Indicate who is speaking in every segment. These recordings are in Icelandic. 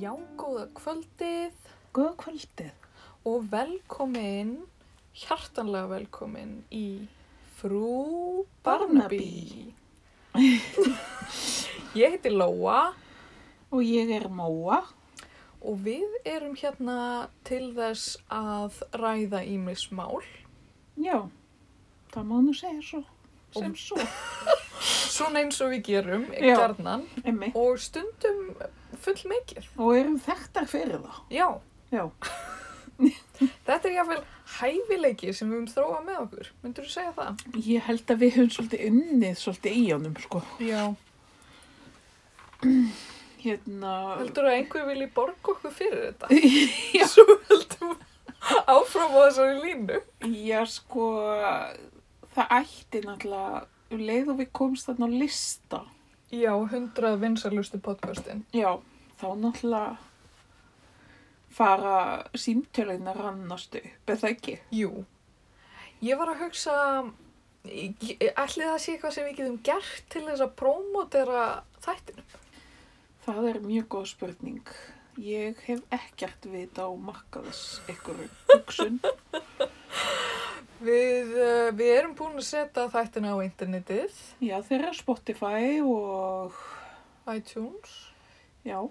Speaker 1: Já, góða kvöldið
Speaker 2: Góða kvöldið.
Speaker 1: og velkomin, hjartanlega velkomin í Frú Barnaby. Ég heiti Lóa
Speaker 2: Og ég er Móa.
Speaker 1: og við erum hérna til þess að ræða ímis mál.
Speaker 2: Já, það má nú segja svo. Sem
Speaker 1: Og-
Speaker 2: svo.
Speaker 1: Svona eins og við gerum,
Speaker 2: Já.
Speaker 1: gerðnan,
Speaker 2: Emmi.
Speaker 1: og stundum full mikið.
Speaker 2: Og erum þekktar fyrir það.
Speaker 1: Já,
Speaker 2: Já.
Speaker 1: þetta er jáfnvel hæfileiki sem við höfum þróað með okkur. Myndur þú segja það?
Speaker 2: Ég held að við höfum svolítið unnið svolítið í honum, sko.
Speaker 1: Já.
Speaker 2: Hérna.
Speaker 1: Heldur að einhver vilji borga okkur fyrir þetta?
Speaker 2: Já.
Speaker 1: Svo heldum við áfram á þessari línu.
Speaker 2: Já, sko, það ætti náttúrulega, um leið og við komst þarna á lista.
Speaker 1: Já, 100 vinsalustu podcastin.
Speaker 2: Já, þá náttúrulega fara símtölinn að rannast upp, eða ekki?
Speaker 1: Jú. Ég var að hugsa, ætli það sé eitthvað sem við getum gert til þess að prómotera þættinu.
Speaker 2: Það er mjög góð spurning. Ég hef ekkert vita á markaðis ykkur hugsun.
Speaker 1: Við, eh, við erum búin að setja þættinu á internetið,
Speaker 2: Já, þeirra Spotify og
Speaker 1: iTunes
Speaker 2: já,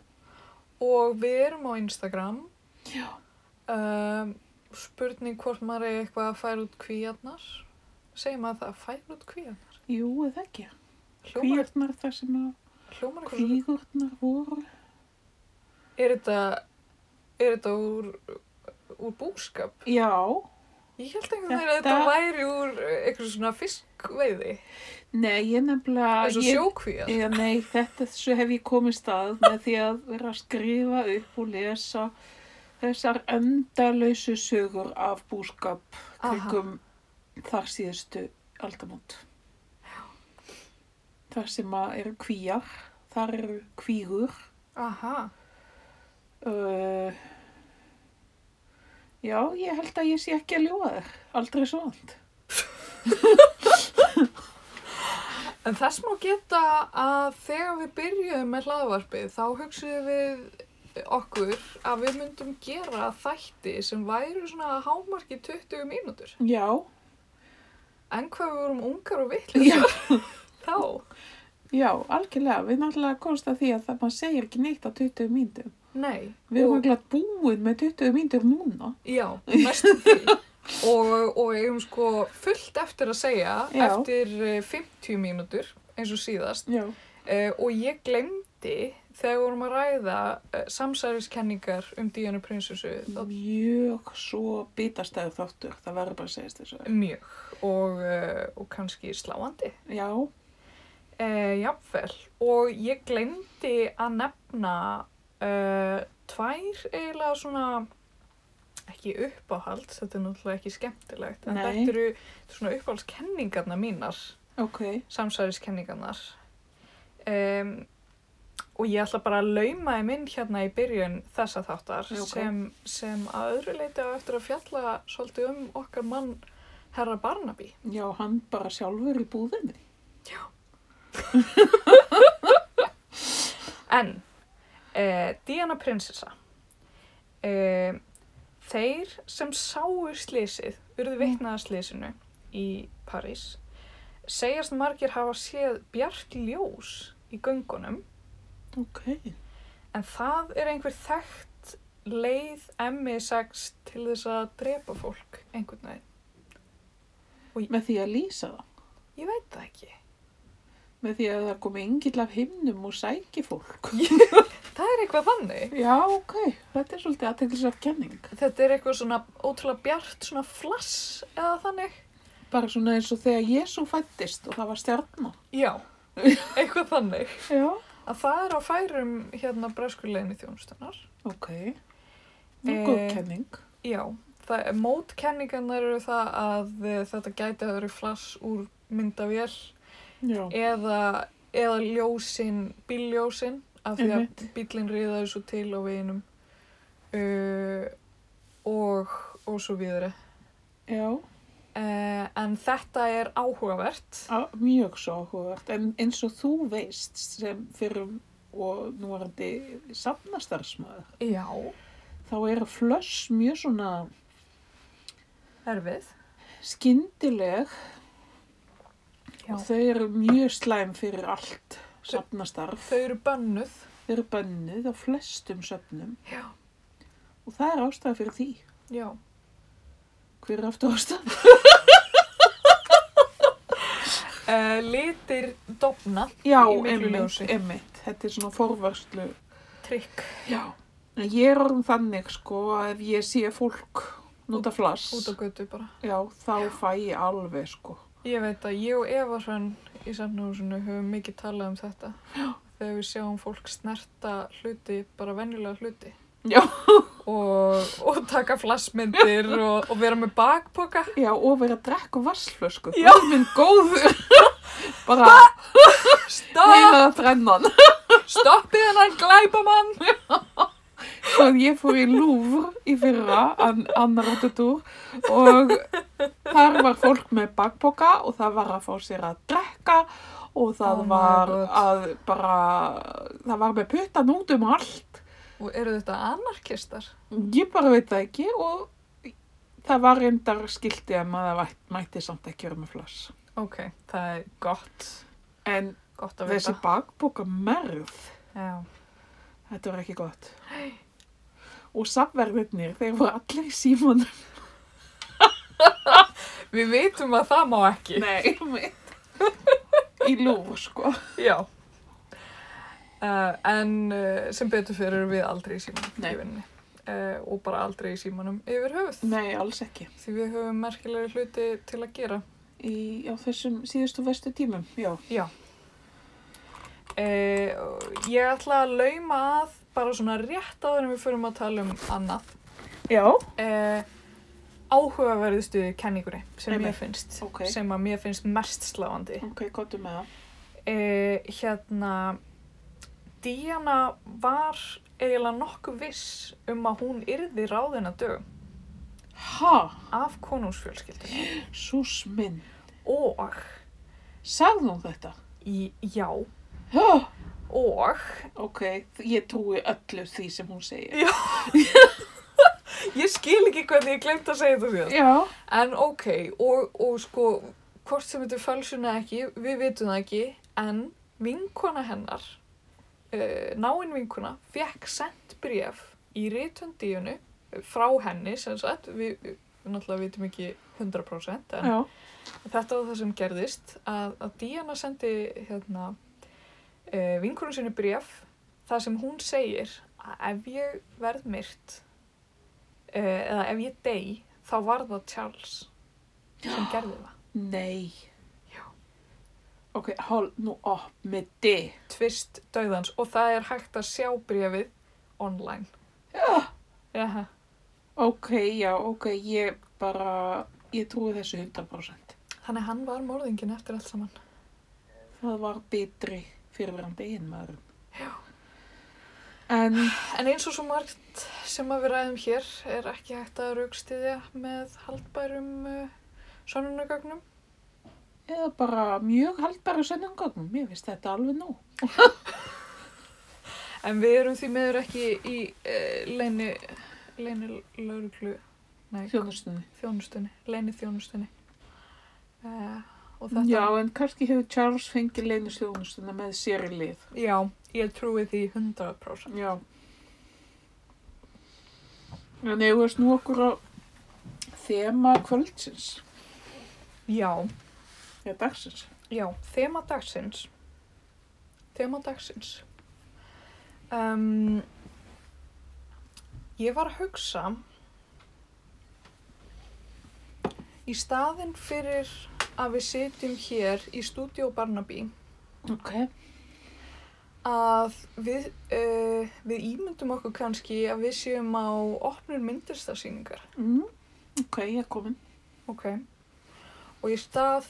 Speaker 1: og við erum á Instagram.
Speaker 2: já,
Speaker 1: Um, spurning hvort maður er eitthvað að færa út kvíarnar. Segir maður það, færa út kvíarnar?
Speaker 2: jú, eða ekki.
Speaker 1: Hljómar,
Speaker 2: Kvíurnar þar sem að
Speaker 1: hljómar eitthvað svo
Speaker 2: kvíurnar voru.
Speaker 1: Er þetta, er þetta úr, úr búskap?
Speaker 2: Já,
Speaker 1: Ég held einhvern veginn að
Speaker 2: Þetta-
Speaker 1: þetta væri úr eitthvað svona fiskveiði,
Speaker 2: nei, ég nefnilega...
Speaker 1: eins og
Speaker 2: ég-
Speaker 1: sjókvíðar.
Speaker 2: Já, nei, þetta svo hef ég komið stað með því að vera að skrifa upp og lesa þessar endalausu sögur af búskap
Speaker 1: Aha.
Speaker 2: kringum þar síðustu aldamót. Þar sem að eru kvíjar, þar eru kvígur.
Speaker 1: Aha,
Speaker 2: Uh, já, ég held að ég sé ekki að ljúa þér. Aldrei svo vant.
Speaker 1: en þess má geta að þegar við byrjuðum með hlaðvarpið þá hugsuðum við okkur að við myndum gera þætti sem væri svona að hámarki 20 mínútur.
Speaker 2: Já,
Speaker 1: En hvað við vorum ungar og vitlegar þá.
Speaker 2: já, algjörlega. Við náttúrulega komst að því að það maður segir ekki neitt á 20 mínutum.
Speaker 1: Nei.
Speaker 2: Við erum
Speaker 1: og-
Speaker 2: ekki glætt búin með 20 mínútur núna.
Speaker 1: Já, næstum því. og, og eigum sko fullt eftir að segja
Speaker 2: Já.
Speaker 1: eftir eh, 50 mínútur eins og síðast
Speaker 2: Já.
Speaker 1: uh, og ég glemdi þegar við vorum að ræða uh, samsæriskenningar um Díanu prinsessu þá
Speaker 2: Mjög svo bitastæðu þáttur, það verður bara að segja þessu.
Speaker 1: mjög og, uh, og kannski sláandi
Speaker 2: Já,
Speaker 1: uh, jafnvel og ég glemdi að nefna uh, tvær eiginlega svona ekki uppáhald, þetta er náttúrulega ekki skemmtilegt en
Speaker 2: Nei.
Speaker 1: þetta eru svona uppáhaldskenningarna mínar
Speaker 2: ok.
Speaker 1: samsæðiskenningarnar um, og ég ætla bara að lauma þeim inn hérna í byrjun þessa þáttar
Speaker 2: Já, ok.
Speaker 1: sem, sem að öðru leiti á eftir að fjalla svolítið um okkar mann herra Barnaby
Speaker 2: Já, hann bara sjálfur í búðinni.
Speaker 1: en uh, Diana prinsessa uh, þeir sem sáu slysið urðu vitnaða slysinu í París segjast margir hafa séð bjart ljós í göngunum
Speaker 2: Ok.
Speaker 1: En það er einhver þekkt leið MI6 til þess að drepa fólk einhvern veginn.
Speaker 2: Með því að lýsa það.
Speaker 1: Ég veit það ekki.
Speaker 2: Með því að það komi yngill af himnum og sæki fólk.
Speaker 1: Það er eitthvað þannig.
Speaker 2: Já, ok. Þetta er svolítið aðteglisar kenning.
Speaker 1: Þetta er eitthvað svona ótrúlega bjart, svona flass eða þannig.
Speaker 2: Bara svona eins og þegar Jésu fættist og það var stjarnar.
Speaker 1: Já, eitthvað þannig.
Speaker 2: Já.
Speaker 1: Að það er á færum hérna breskuleginni þjónustunar.
Speaker 2: Ok. Mjög góð
Speaker 1: Eh,
Speaker 2: kenning.
Speaker 1: Já, það er mótkenningarnar eru það að eh, þetta gæti að vera flass úr myndavél
Speaker 2: Já.
Speaker 1: eða, eða ljósin, bílljósin af því að
Speaker 2: Einmitt.
Speaker 1: bíllinn riðaði svo til á veginum uh, og, og svo viðri.
Speaker 2: Já.
Speaker 1: Uh, en þetta er áhugavert.
Speaker 2: Á, mjög svo áhugavert, en eins og þú veist sem fyrir og núvarandi safnastarfsmaður,
Speaker 1: Já,
Speaker 2: þá eru flöss mjög svona
Speaker 1: erfið.
Speaker 2: skyndileg
Speaker 1: Já.
Speaker 2: og þau eru mjög slæm fyrir allt safnastarf.
Speaker 1: Þau eru bönnuð.
Speaker 2: Þau eru bönnuð á flestum söfnum
Speaker 1: Já.
Speaker 2: og það er ástæða fyrir því.
Speaker 1: Já.
Speaker 2: Hver er aftur ástæða?
Speaker 1: Uh, litir dofna.
Speaker 2: Já,
Speaker 1: Í miklu
Speaker 2: emmitt,
Speaker 1: ljósi.
Speaker 2: emmitt. Þetta er svona forvarslu
Speaker 1: Trygg.
Speaker 2: Já, en ég er orðin þannig sko að ef ég sé fólk nota flass,
Speaker 1: Út á götu bara.
Speaker 2: já, þá fæ ég alveg sko.
Speaker 1: Ég veit að ég og Eva Hrönn í samnáðusinu höfum mikið talað um þetta. Þegar við sjáum fólk snerta hluti, bara venjulega hluti.
Speaker 2: Já.
Speaker 1: Og, og taka flassmyndir og, og vera með bakpoka.
Speaker 2: Já, og vera að drekka úr vassflösku,
Speaker 1: Já.
Speaker 2: það er minn góður, bara
Speaker 1: Stopp!
Speaker 2: heila þrennan.
Speaker 1: Stoppið hennan glæpamann!
Speaker 2: Og ég fór í Louvre í fyrra, an, annar rútutúr, og þar var fólk með bakpoka og það var að fá sér að drekka og það
Speaker 1: Oh my
Speaker 2: var
Speaker 1: God.
Speaker 2: að bara, það var með puttan út um allt.
Speaker 1: Og eru þetta anarkistar?
Speaker 2: Ég bara veit það ekki og það var reyndar skilti að maður væ- mætti samt ekki vera með flass.
Speaker 1: Ok, það er gott.
Speaker 2: En
Speaker 1: Gott að
Speaker 2: þessi
Speaker 1: vita.
Speaker 2: bakbóka merð,
Speaker 1: Já.
Speaker 2: þetta var ekki gott. Og safverðirnir, þeir voru allir í símanum.
Speaker 1: Við vitum að það má ekki.
Speaker 2: Nei, mitt. Í lúr, sko.
Speaker 1: Já. Uh, en uh, sem betur fyrir erum við aldrei í símanum
Speaker 2: Nei.
Speaker 1: í vinninni. Uh, og bara aldrei í símanum yfir höfuð.
Speaker 2: Nei, alls ekki.
Speaker 1: Því við höfum merkilegri hluti til að gera.
Speaker 2: Í, á þessum síðustu vestu tímum, já.
Speaker 1: Já. E, ég ætla að lauma að bara svona rétt áður en við förum að tala um annað.
Speaker 2: Já.
Speaker 1: Eh, áhugaverðustu kenningunni sem mér
Speaker 2: Einmitt.
Speaker 1: finnst.
Speaker 2: Ok. Mm.
Speaker 1: Sem að mér finnst mest sláandi.
Speaker 2: Ok, gottum með það.
Speaker 1: Eh, hérna, Diana var eiginlega nokkuð viss um að hún yrði ráðin að dögum
Speaker 2: Ha,
Speaker 1: af konungsfjölskyldunni
Speaker 2: sús minn.
Speaker 1: og,
Speaker 2: Sagði hún þetta?
Speaker 1: í, já,
Speaker 2: Ha,
Speaker 1: og,
Speaker 2: ok, ég trúi öllu því sem hún segir.
Speaker 1: ég skil ekki hvernig ég glemt að segja þetta síðan.
Speaker 2: Já.
Speaker 1: En ok, og, og sko, hvort sem þetta er fölsun eða ekki, við vitum það ekki, en vinkona hennar, uh, náinn vinkona, fekk sendt bréf í rítundíunu frá henni, sem sagt, við, við náttúrulega vitum ekki 100%, en
Speaker 2: Já.
Speaker 1: þetta var það sem gerðist, að, að Díana sendi hérna, uh, vinkonu sinni bréf, það sem hún segir að ef ég verð myrt, uh, eða ef ég dey, þá var það Charles sem gerði það.
Speaker 2: Nei.
Speaker 1: Já.
Speaker 2: Ok, hold nú upp með þið.
Speaker 1: Tvist döðans og það er hægt að sjá bréfið online. Já. Jaha.
Speaker 2: Ok, já, ok, ég bara, ég trúi þessu 100%.
Speaker 1: Þannig að hann var morðingin eftir allt saman.
Speaker 2: Það var betri fyrirverandi einmaður. Já. En,
Speaker 1: En eins og svo margt sem að við ræðum hér er ekki hægt að raukstiðja með haldbærum uh, sannunagögnum.
Speaker 2: eða bara mjög haldbæru senningögnum, ég veist þetta alveg nú.
Speaker 1: En við erum því meður ekki í uh, leini, leini lauruglu, nei,
Speaker 2: Þjónustunni.
Speaker 1: þjónustunni, leini þjónustunni. Uh, og þetta,
Speaker 2: Já, en kannski hefur Charles fengið leynist þjónustuna með sér í lið.
Speaker 1: já, ég trúi því 100%.
Speaker 2: Já. En ég veist nú okkur á þema kvöldsins,
Speaker 1: Já,
Speaker 2: eða dagsins.
Speaker 1: já, þema dagsins, þema dagsins. Um, ég var að hugsa í staðinn fyrir að við sitjum hér í stúdíu Barnaby
Speaker 2: Ok.
Speaker 1: að við, uh, við ímyndum okkur kannski að við séum á opnur myndlistarsýningar.
Speaker 2: Mm, ok, ég er komin.
Speaker 1: Ok. Og í stað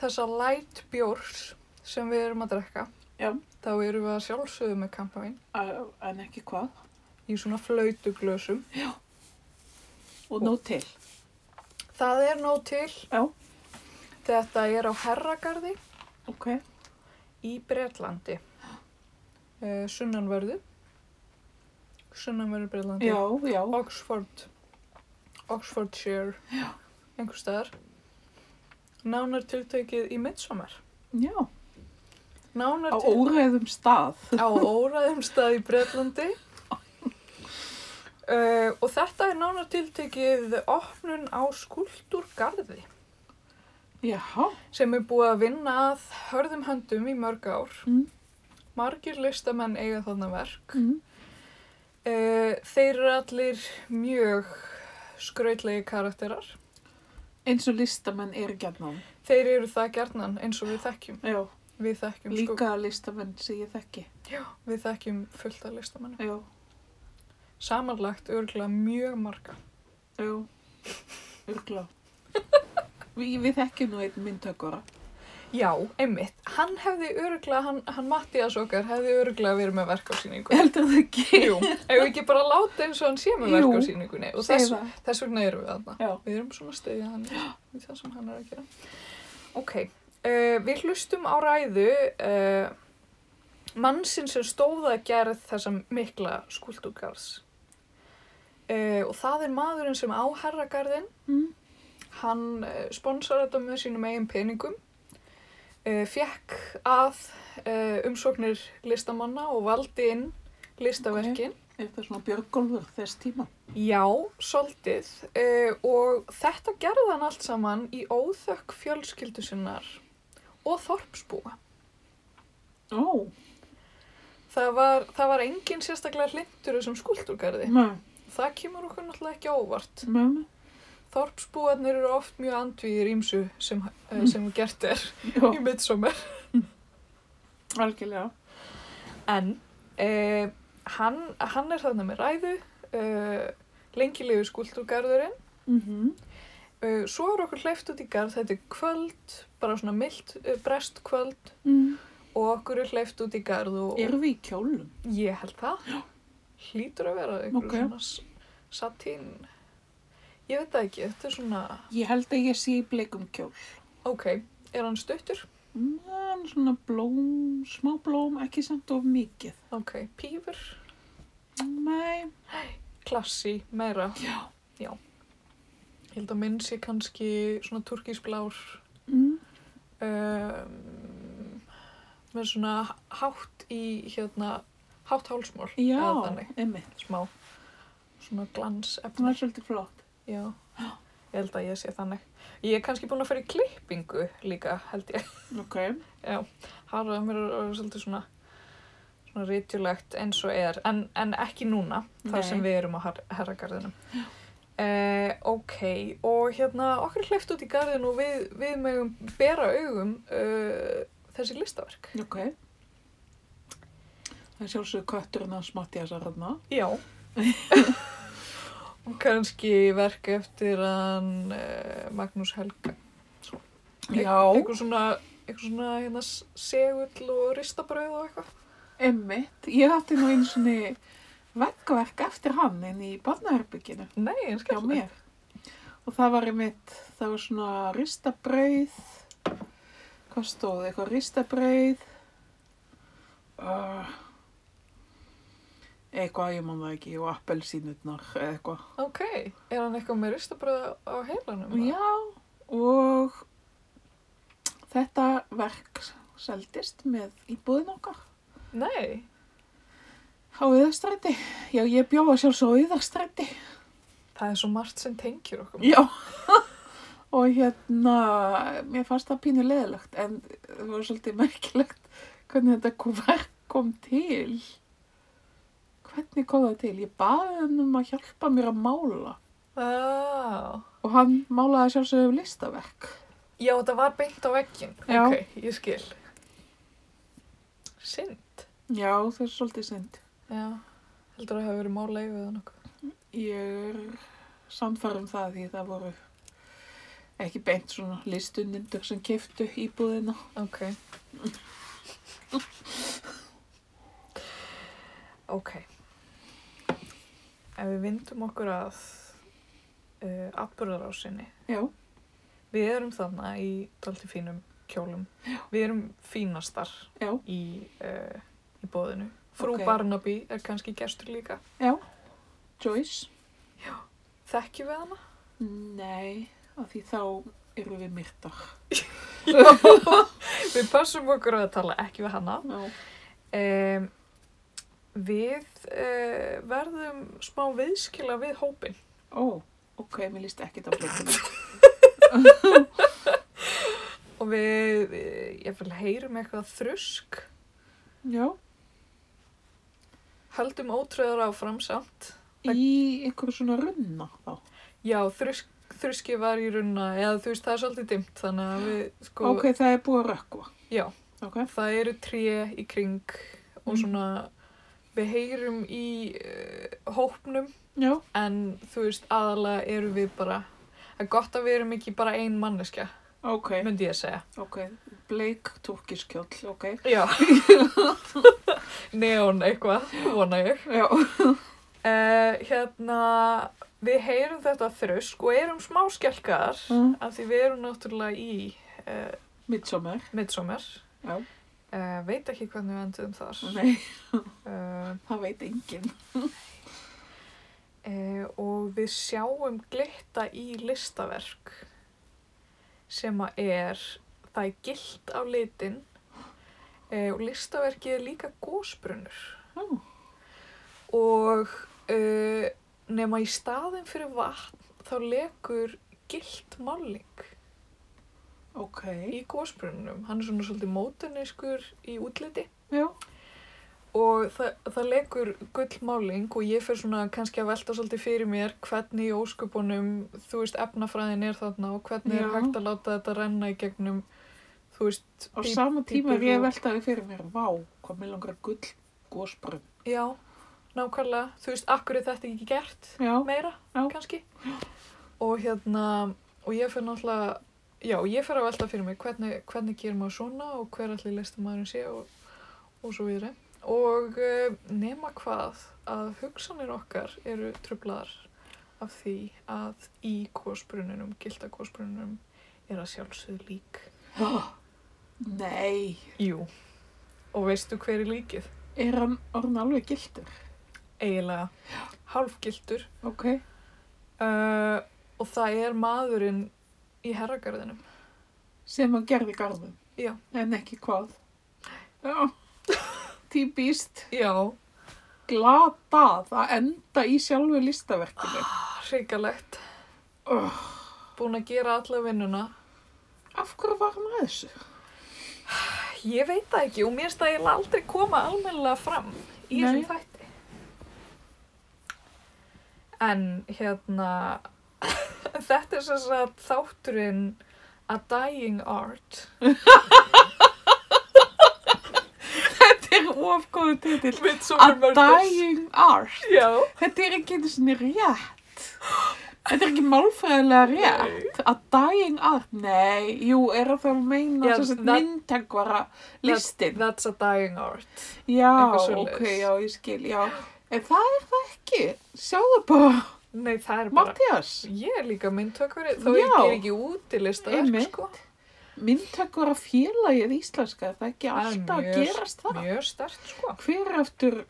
Speaker 1: þessa light bjórs sem við erum að drekka,
Speaker 2: Já.
Speaker 1: þá erum við að sjálfsögðu með kampavín
Speaker 2: Uh, en ekki hvað.
Speaker 1: í svona flautuglösum.
Speaker 2: Og nóg til.
Speaker 1: Það er nóg til.
Speaker 2: Já.
Speaker 1: Þetta er á Herragarði
Speaker 2: Ok.
Speaker 1: í Bretlandi. uh, sunnanverðu sunnanverðu Breitlandi
Speaker 2: Já, já.
Speaker 1: Oxford Oxfordshire Já. einhver staðar nánar tiltökið í midsommar
Speaker 2: Já,
Speaker 1: nánar
Speaker 2: á
Speaker 1: til-
Speaker 2: óreðum stað.
Speaker 1: á óraðum stað í Bretlandi uh, og þetta er nánar tiltekið opnun á skúltúrgarði
Speaker 2: Jaha,
Speaker 1: sem er búið að vinna að hörðum höndum í mörg ár
Speaker 2: Mm.
Speaker 1: margir listamenn eiga þarna verk
Speaker 2: mm.
Speaker 1: uh, þeir eru allir mjög skrautlegi karakterar
Speaker 2: eins og listamenn er gjarnan.
Speaker 1: þeir eru það gerðnan eins og við þekkjum
Speaker 2: Já, um
Speaker 1: við þekkjum, sko,
Speaker 2: líka listamenn sem ég þekki.
Speaker 1: við þekkjum fullt af listamennum
Speaker 2: Já,
Speaker 1: samanlagt örgulega mjög marga
Speaker 2: já, örgla. Vi, við þekkjum nú einn myndtökora.
Speaker 1: Já, einmitt. Hann hefði öruglega, hann, hann Mattias okkar hefði öruglega verið með verkásýningu.
Speaker 2: Heldur það ekki?
Speaker 1: Jú, ef við ekki bara láta eins og hann sé með
Speaker 2: Jú.
Speaker 1: verkásýningunni og
Speaker 2: Segðu
Speaker 1: þess,
Speaker 2: það.
Speaker 1: þess vegna erum við þarna.
Speaker 2: Já.
Speaker 1: Við erum svona að styðja hann í það sem hann er að gera. Ok, uh, við hlustum á ræðu uh, mannsinn sem stóða að gera þessa mikla skúlduggarðs. Uh, og það er maðurinn sem á herragarðin
Speaker 2: Mm.
Speaker 1: Hann eh, sponsor þetta með sínum eigin peningum, uh, fekk að uh, umsóknir listamanna og valdi inn listaverkin.
Speaker 2: Er það svona björgólfur þess tíma?
Speaker 1: Já, soldið uh, og þetta gerði hann allt saman í óþökk fjölskyldu sinnar og þorpsbúa.
Speaker 2: Ó,
Speaker 1: Það var, það var engin sérstaklega hlindur þessum skuldurgarði.
Speaker 2: mæ,
Speaker 1: Það kemur okkur náttúrulega ekki á óvart.
Speaker 2: mæ, mæ.
Speaker 1: Þorpsbúarnir eru oft mjög andvíðir ímsu sem, uh, sem gert er
Speaker 2: Já,
Speaker 1: í midsommar.
Speaker 2: algjörlega.
Speaker 1: En eh, hann, hann er þarna með ræðu, eh, lengi lifi skúltúrgarðurinn.
Speaker 2: Mm
Speaker 1: Eh, svo er okkur hleyft út í garð, þetta er kvöld, bara svona mild eh, brest kvöld
Speaker 2: mm.
Speaker 1: og okkur er hleyft út í garð og
Speaker 2: Erum við í kjólum?
Speaker 1: ég held það. Hlýtur að vera einhver
Speaker 2: Ok.
Speaker 1: svona s- satín. Ég veit það ekki, þetta er svona,
Speaker 2: Ég held að ég sé í bleikum kjól.
Speaker 1: ok, er hann stuttur?
Speaker 2: Næ, svona blóm, smá blóm, ekki samt of mikið.
Speaker 1: Ok, pífur,
Speaker 2: Nei,
Speaker 1: klassi, meira.
Speaker 2: Já.
Speaker 1: Já. Ég held að minn sé kannski svona turkisblár.
Speaker 2: mm,
Speaker 1: um, með svona hátt í hérna hátt hálsmál
Speaker 2: já,
Speaker 1: eða þannig,
Speaker 2: einmitt.
Speaker 1: smá svona glans
Speaker 2: Það
Speaker 1: efni
Speaker 2: var svolítið flott.
Speaker 1: já, ég held að ég sé þannig ég er kannski búin að fyrir klippingu líka held ég,
Speaker 2: Ok.
Speaker 1: já harfaða mér að vera svolítið svona svona rítjulegt eins og er en, en ekki núna, þar
Speaker 2: Nei.
Speaker 1: sem við erum á her herragarðinum Uh, ok, og hérna okkur er hleyft út í garðin og við, við megum bera augum uh, þessi listaverk.
Speaker 2: Ok. Það er sjálfsögur kötturinn hans Mattiasar hérna.
Speaker 1: Já. og kannski verk eftir hann uh, Magnús Helga.
Speaker 2: Já,
Speaker 1: Eitthvað svona, eitthvað svona hérna s- segull og ristabrauð og eitthvað.
Speaker 2: einmitt. Ég átti nú einu svona veggverk eftir hann inn í barnaherbygginu
Speaker 1: Nei, en
Speaker 2: hjá
Speaker 1: skemmt.
Speaker 2: mér. Og það var einmitt, það var svona ristabrauð, hvað stóð, eitthvað ristabrauð, uh, eitthvað, ég man það ekki, og appelsínutnar, eða eitthvað.
Speaker 1: Ok, er hann eitthvað með ristabrauð á heilanum?
Speaker 2: Já, og þetta verk seldist með íbúðin okkar
Speaker 1: Nei,
Speaker 2: á Íðarstræti. Já, ég bjóða sjálfsög á Íðarstræti.
Speaker 1: það er svo margt sem tengjur okkur.
Speaker 2: Já. og hérna, mér fannst það pínu leðilegt en það var svolítið merkilegt hvernig þetta kuvert kom til. Hvernig kom það til? Ég baði hann um að hjálpa mér að mála
Speaker 1: Ah.
Speaker 2: og hann málaði sjálfsögum listaverk.
Speaker 1: Já, þetta var beint á veggin.
Speaker 2: Já.
Speaker 1: Ok, ég skil. Synd.
Speaker 2: Já, það er svolítið synd.
Speaker 1: Já, heldur að það hefur verið máleið við hann okkur.
Speaker 2: Ég er samfærum það því það voru ekki beint svona listunindur sem keftu íbúðina.
Speaker 1: Ok. ok. Ef við vindum okkur að uh, atbyrðarásinni.
Speaker 2: Já,
Speaker 1: Við erum þarna í dalti fínum kjólum. Við erum fínastar eh,
Speaker 2: já,
Speaker 1: í, uh, í bóðinu. Frú
Speaker 2: Ok.
Speaker 1: Barnaby er kannski gestur líka.
Speaker 2: Já. Joyce?
Speaker 1: Þekkjum við hana?
Speaker 2: Nei, af því þá eru við myrtar.
Speaker 1: Við passum okkur á að tala ekki við hana.
Speaker 2: Já.
Speaker 1: Um, við uh, verðum smá viðskila við hópin.
Speaker 2: Ó, ok, mér líst ekkert á blöndinu.
Speaker 1: Og við, eh, ég vil heyrum eitthvað þrusk.
Speaker 2: Já.
Speaker 1: Haldum ótröður áfram samt.
Speaker 2: Í einhverju svona runna þá.
Speaker 1: Já, þrusk, þruski var í runna, eða þú veist, það er svolítið dimmt, þannig að við, sko,
Speaker 2: Ok, það er búið að rökkva.
Speaker 1: Já.
Speaker 2: Ok.
Speaker 1: það eru tré í kring og
Speaker 2: Mm.
Speaker 1: svona, við heyrum í uh, hópnum,
Speaker 2: Já.
Speaker 1: en þú veist, aðalega eru við bara, það er gott að við erum ekki bara ein manneskja,
Speaker 2: Ok,
Speaker 1: myndi ég að segja.
Speaker 2: ok. Bleik turkiskjóll, ok.
Speaker 1: Já. Neon eitthvað, vona ég.
Speaker 2: Já.
Speaker 1: Uh, hérna, við heyrum þetta þrusk og erum smá skelkaðar,
Speaker 2: Mm.
Speaker 1: af því við erum náttúrulega í uh,
Speaker 2: Midsommar.
Speaker 1: midsommar.
Speaker 2: Já.
Speaker 1: Uh, veit ekki hvernig við endum þar.
Speaker 2: Nei,
Speaker 1: Uh,
Speaker 2: það veit enginn.
Speaker 1: uh, og við sjáum glitta í listaverk sem að er, það er gilt á litin uh, og listaverkið er líka gósbrunnur.
Speaker 2: Já.
Speaker 1: Og uh, nema í staðin fyrir vatn þá lekur gilt máling
Speaker 2: Ok.
Speaker 1: í gósbrunnum. Hann er svona svolítið mótuniskur í útliti.
Speaker 2: Já.
Speaker 1: Og það, það leikur gullmáling og ég fyrir svona kannski að velta svolítið fyrir mér hvernig í ósköpunum, þú veist, efnafræðin er þarna og hvernig
Speaker 2: Já.
Speaker 1: er hægt að láta þetta renna í gegnum, þú veist,
Speaker 2: Á
Speaker 1: Bí-
Speaker 2: sama tíma er
Speaker 1: bíbel
Speaker 2: ég
Speaker 1: og-
Speaker 2: veltaði fyrir mér, vá, hvað mér langar gull gósbrunn.
Speaker 1: já, nákvæmlega, þú veist, akkur er þetta ekki gert
Speaker 2: Já,
Speaker 1: meira,
Speaker 2: Já.
Speaker 1: kannski. Og hérna, og ég fyrir náttúrulega, já, ég fyrir að velta fyrir mér hvernig, hvernig gerir maður svona og hver allir listamæðurinn sé og, og svo viðri. Og eh, nema hvað að hugsanir okkar eru trublaðar af því að í kosbrununum, gilda kosbrununum, er að sjálfsögðu lík.
Speaker 2: nei,
Speaker 1: Jú. Og veistu hver er líkið?
Speaker 2: er hann orðin alveg gildur?
Speaker 1: Eiginlega hálfgildur
Speaker 2: Ok,
Speaker 1: uh, og það er maðurinn í herragarðinum.
Speaker 2: sem hann gerði garðum.
Speaker 1: Já.
Speaker 2: En ekki hvað. Já, típist,
Speaker 1: Já,
Speaker 2: glatað að enda í sjálfu listaverkinu.
Speaker 1: hrikalegt.
Speaker 2: Oh,
Speaker 1: Búin að gera alla vinnuna.
Speaker 2: af hverju var hann að þessu?
Speaker 1: Ég veit það ekki og mér finnst það eiginlega aldrei koma almennilega fram í þessum
Speaker 2: Nei.
Speaker 1: þætti. En hérna, þetta er sem sagt þátturinn A Dying Art.
Speaker 2: Þetta er ofgóðu titill. A
Speaker 1: Midsommar
Speaker 2: Dying Art.
Speaker 1: Já.
Speaker 2: Þetta er ekki einu sinni rétt. Þetta er ekki málfræðilega rétt. A Dying Art, nei, jú, er að það meina
Speaker 1: Já,
Speaker 2: yeah, þess að
Speaker 1: that-
Speaker 2: myndtengvara listin.
Speaker 1: That's a Dying Art.
Speaker 2: já,
Speaker 1: eitthvað svoleiðis.
Speaker 2: ok, já, ég skil, já. En það er það ekki. Sjáðu bara,
Speaker 1: Nei, það er bara...
Speaker 2: Mattias,
Speaker 1: Ég er líka myndtökari, þó ég
Speaker 2: Já.
Speaker 1: ger ekki út í listaverk,
Speaker 2: Einmitt.
Speaker 1: sko.
Speaker 2: myndtengvara félagið íslenska, er það ekki
Speaker 1: Það er
Speaker 2: alltaf að
Speaker 1: mjög-
Speaker 2: gerast það.
Speaker 1: Mjög stert, sko.
Speaker 2: Hver er eftir,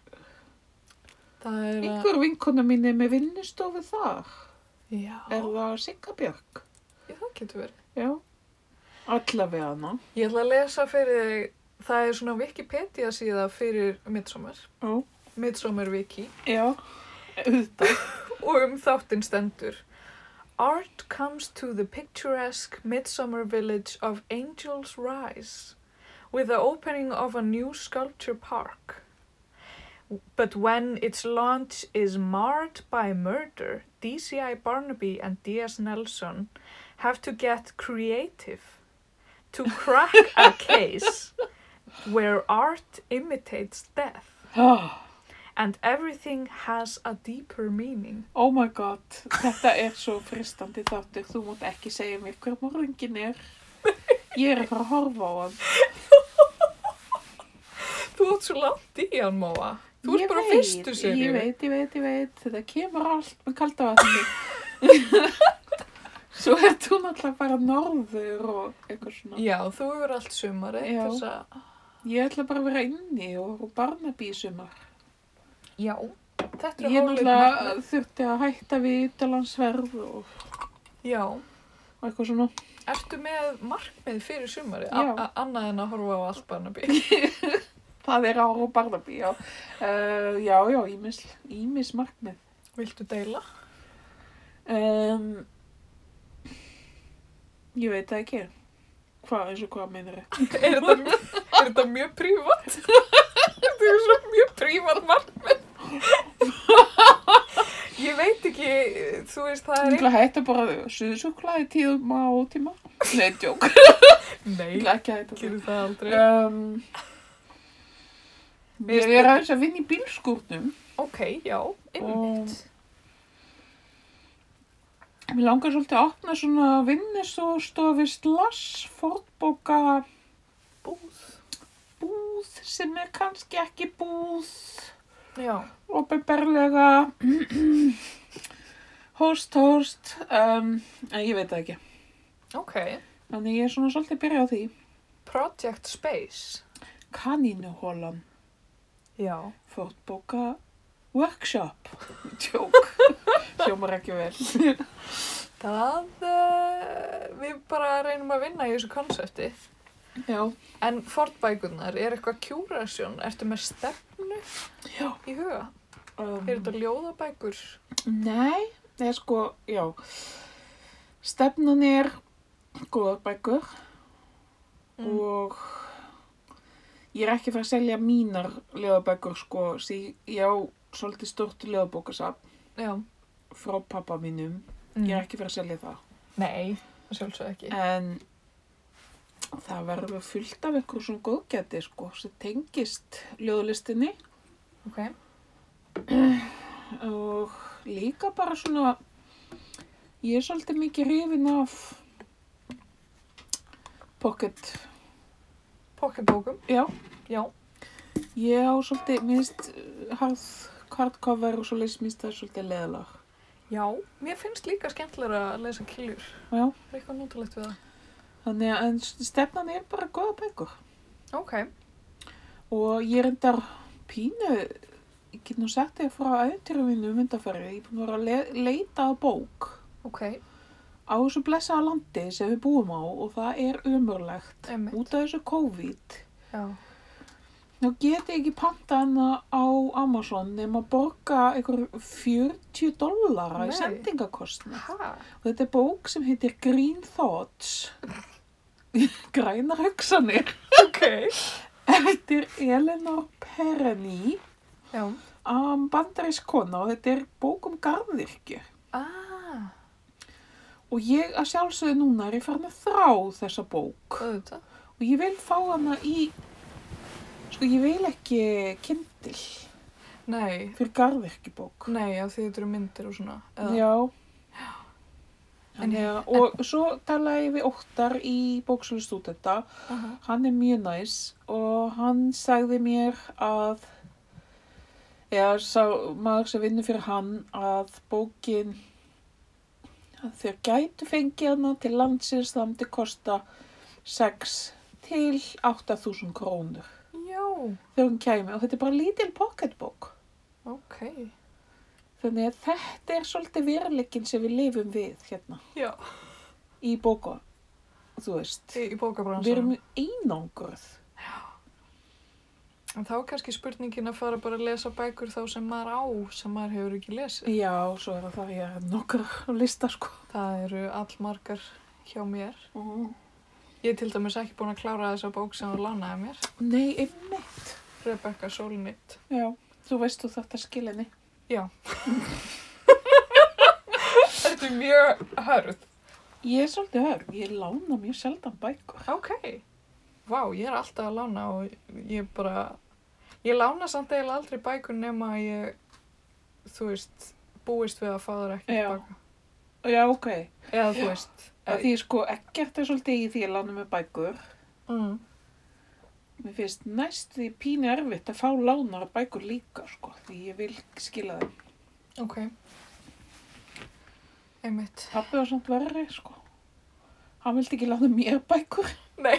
Speaker 1: Það er að...
Speaker 2: einhver vinkona mín er með vinnustofu þar.
Speaker 1: Já,
Speaker 2: Er það Sigabjörg?
Speaker 1: ég, það getur verið.
Speaker 2: Já. Allavega hana.
Speaker 1: Ég ætla að lesa fyrir þig, það er svona Wikipedia síða fyrir Midsommar,
Speaker 2: Já.
Speaker 1: Midsommar Wiki
Speaker 2: Já. Auðvitað.
Speaker 1: og um þáttinn stendur. Art comes to the picturesque Midsommar village of Angel's Rise with the opening of a new sculpture park. But when its launch is marred by murder, DCI Barnaby and D.S. Nelson have to get creative to crack a case where art imitates death
Speaker 2: Ah,
Speaker 1: and everything has a deeper meaning.
Speaker 2: Oh my god, þetta er svo fristandi þáttur, þú mátt ekki segja mér hver morðingin er. Ég er að fara að horfa á hann.
Speaker 1: Þú átt svo langt í hann, Móa. Þú
Speaker 2: Ég
Speaker 1: ert bara á
Speaker 2: veit,
Speaker 1: fyrstu serju.
Speaker 2: Ég veit, ég veit, ég veit, þetta kemur allt með kalda vatni. svo er þú náttúrulega bara norður og eitthvað svona.
Speaker 1: Já, þú hefur allt sumari
Speaker 2: Já.
Speaker 1: þess að
Speaker 2: Ég ætla bara að vera inni og horfa á Barnaby í sumar.
Speaker 1: Já, þetta eru
Speaker 2: Ég
Speaker 1: hálfleik
Speaker 2: náttúrulega
Speaker 1: markmið.
Speaker 2: þurfti að hætta við ytterlandsverð og
Speaker 1: Já,
Speaker 2: og eitthvað svona.
Speaker 1: ertu með markmið fyrir sumari?
Speaker 2: Já.
Speaker 1: A- a- Annað en að horfa á allt Barnaby.
Speaker 2: Það er ára og barnabí, já. Uh, já, já, ímis, ímis markmið.
Speaker 1: Viltu deila?
Speaker 2: Um, ég veit það ekki. Hvað, eins og hvað meinar ég?
Speaker 1: Er þetta, er þetta mjög prívat? þetta er svo mjög prívat markmið. Ég veit ekki, þú veist, það
Speaker 2: Ég
Speaker 1: er
Speaker 2: ætla að hætta bara suðsúklaði tíma og tíma. Nei, djók.
Speaker 1: einn...
Speaker 2: Ég
Speaker 1: Nei,
Speaker 2: ætla ekki að hætta það.
Speaker 1: gerðu það aldrei.
Speaker 2: Um,
Speaker 1: Mér
Speaker 2: ég
Speaker 1: finnst-
Speaker 2: er aðeins að vinna í bílskúrnum.
Speaker 1: Ok, já, einmitt.
Speaker 2: Mér langar svolítið að opna svona vinnustofi slass fornbóka
Speaker 1: Búð.
Speaker 2: búð sem er kannski ekki búð
Speaker 1: Já,
Speaker 2: opinberlega host host um, en ég veit það ekki
Speaker 1: ok.
Speaker 2: þannig ég er svona svolítið að byrja á því
Speaker 1: Project Space.
Speaker 2: kanínuhólan
Speaker 1: Já.
Speaker 2: fótbóka workshop tjók sjómar ekki vel
Speaker 1: Það, uh, við bara reynum að vinna í þessu konsepti.
Speaker 2: já,
Speaker 1: En fornbækurnar, er eitthvað curation? Ertu með stefnu
Speaker 2: Já.
Speaker 1: í huga?
Speaker 2: um,
Speaker 1: Er þetta ljóðabækur?
Speaker 2: nei, það er sko já, stefnan er góðar bækur
Speaker 1: Mm.
Speaker 2: og ég er ekki að fara að selja mínar ljóðabækur sko, því ég á svolítið stort ljóðabókasafn
Speaker 1: Já.
Speaker 2: frá pappa mínum,
Speaker 1: Mm.
Speaker 2: ég er ekki að fara að selja það
Speaker 1: Nei, að sjálfsög ekki.
Speaker 2: en það verður fullt af einhverjum svona góðgæti sko, sem tengist ljóðlistinni
Speaker 1: Ok.
Speaker 2: og líka bara svona ég er svolítið mikið hrifin af pocket
Speaker 1: Pocketbókum,
Speaker 2: já,
Speaker 1: já.
Speaker 2: Ég á svolítið, minnst hard, hardcover og svolítið, minnst það svolítið leðalag.
Speaker 1: Já, mér finnst líka skemmtilega að lesa kiljur.
Speaker 2: Já,
Speaker 1: Er eitthvað notalegt við það?
Speaker 2: þannig að en stefnan er bara góða bækur.
Speaker 1: Ok.
Speaker 2: Og ég er endar pínu, ég get nú sagt þér frá aðeintyrum mínu myndafærið, ég er búin að vera að le leita að bók
Speaker 1: Ok,
Speaker 2: á þessu blessaða landi sem við búum á og það er umurlegt.
Speaker 1: emmi.
Speaker 2: Út af þessu COVID,
Speaker 1: Já.
Speaker 2: nú get ég ekki panta hana á Amazon nema borga einhver 40 dollara
Speaker 1: Nei.
Speaker 2: í sendingakostna.
Speaker 1: Hæ?
Speaker 2: Og þetta er bók sem heitir Green Thoughts, grænar hugsanir,
Speaker 1: Ok.
Speaker 2: eftir Eleanor Perenny,
Speaker 1: Já.
Speaker 2: um, bandarísk kona og þetta er bók um garðvirkju.
Speaker 1: Ah,
Speaker 2: Og ég að sjálfsögðu núna er ég farin að þrá þessa bók
Speaker 1: auðvitað.
Speaker 2: og ég vil fá hana í, sko ég vil ekki kindil
Speaker 1: Nei,
Speaker 2: fyrir garðvirkjubók.
Speaker 1: nei, af því þetta eru myndir og svona.
Speaker 2: Já.
Speaker 1: En-
Speaker 2: Þannig að, og svo talaði ég við Óttar í bóksölu stúdenta
Speaker 1: Aha.
Speaker 2: Hann er mjög næs og hann sagði mér að, eða sá maður sem vinnur fyrir hann að bókin, að þeir gætu fengið hana til landsins það myndi kosta 6 til 8.000 krónur
Speaker 1: Já.
Speaker 2: þegar hún kæmi og þetta er bara lítil pocketbók.
Speaker 1: Ok.
Speaker 2: Þannig að þetta er svolítið veruleikin sem við lifum við hérna
Speaker 1: Já.
Speaker 2: í bóka, þú veist.
Speaker 1: Í, í
Speaker 2: Við erum
Speaker 1: bókabransanum.
Speaker 2: einangruð.
Speaker 1: En þá er kannski spurningin að fara bara að lesa bækur þá sem maður á, sem maður hefur ekki lesið.
Speaker 2: Já, svo er það það ég er nokkur á lista sko.
Speaker 1: Það eru allmargar hjá mér.
Speaker 2: Mm.
Speaker 1: Ég er til dæmis ekki búin að klára þessa bók sem þú lánaði mér.
Speaker 2: Nei, einmitt.
Speaker 1: Rebecca Solnit.
Speaker 2: Já, þú veist þú þarft að skila henni.
Speaker 1: Þetta er mjög hörð.
Speaker 2: Ég er svolítið hörg, ég lána mjög sjaldan bækur.
Speaker 1: Ok. Vá, ég er alltaf að lána og ég bara... Ég lána samt eiginlega aldrei bækur nema að ég, þú veist, búist við að fá þar ekki
Speaker 2: Já.
Speaker 1: baka.
Speaker 2: Já, ok.
Speaker 1: Eða þú veist.
Speaker 2: Að því sko ekkert er svolítið í því að lána mér bækur.
Speaker 1: Mm.
Speaker 2: Mér finnst næst því pínu erfitt að fá lánar bækur líka sko, því ég vil skila þeim.
Speaker 1: Ok. Einmitt.
Speaker 2: Pappi var samt verri sko. Hann vildi ekki lána mér bækur.
Speaker 1: Nei.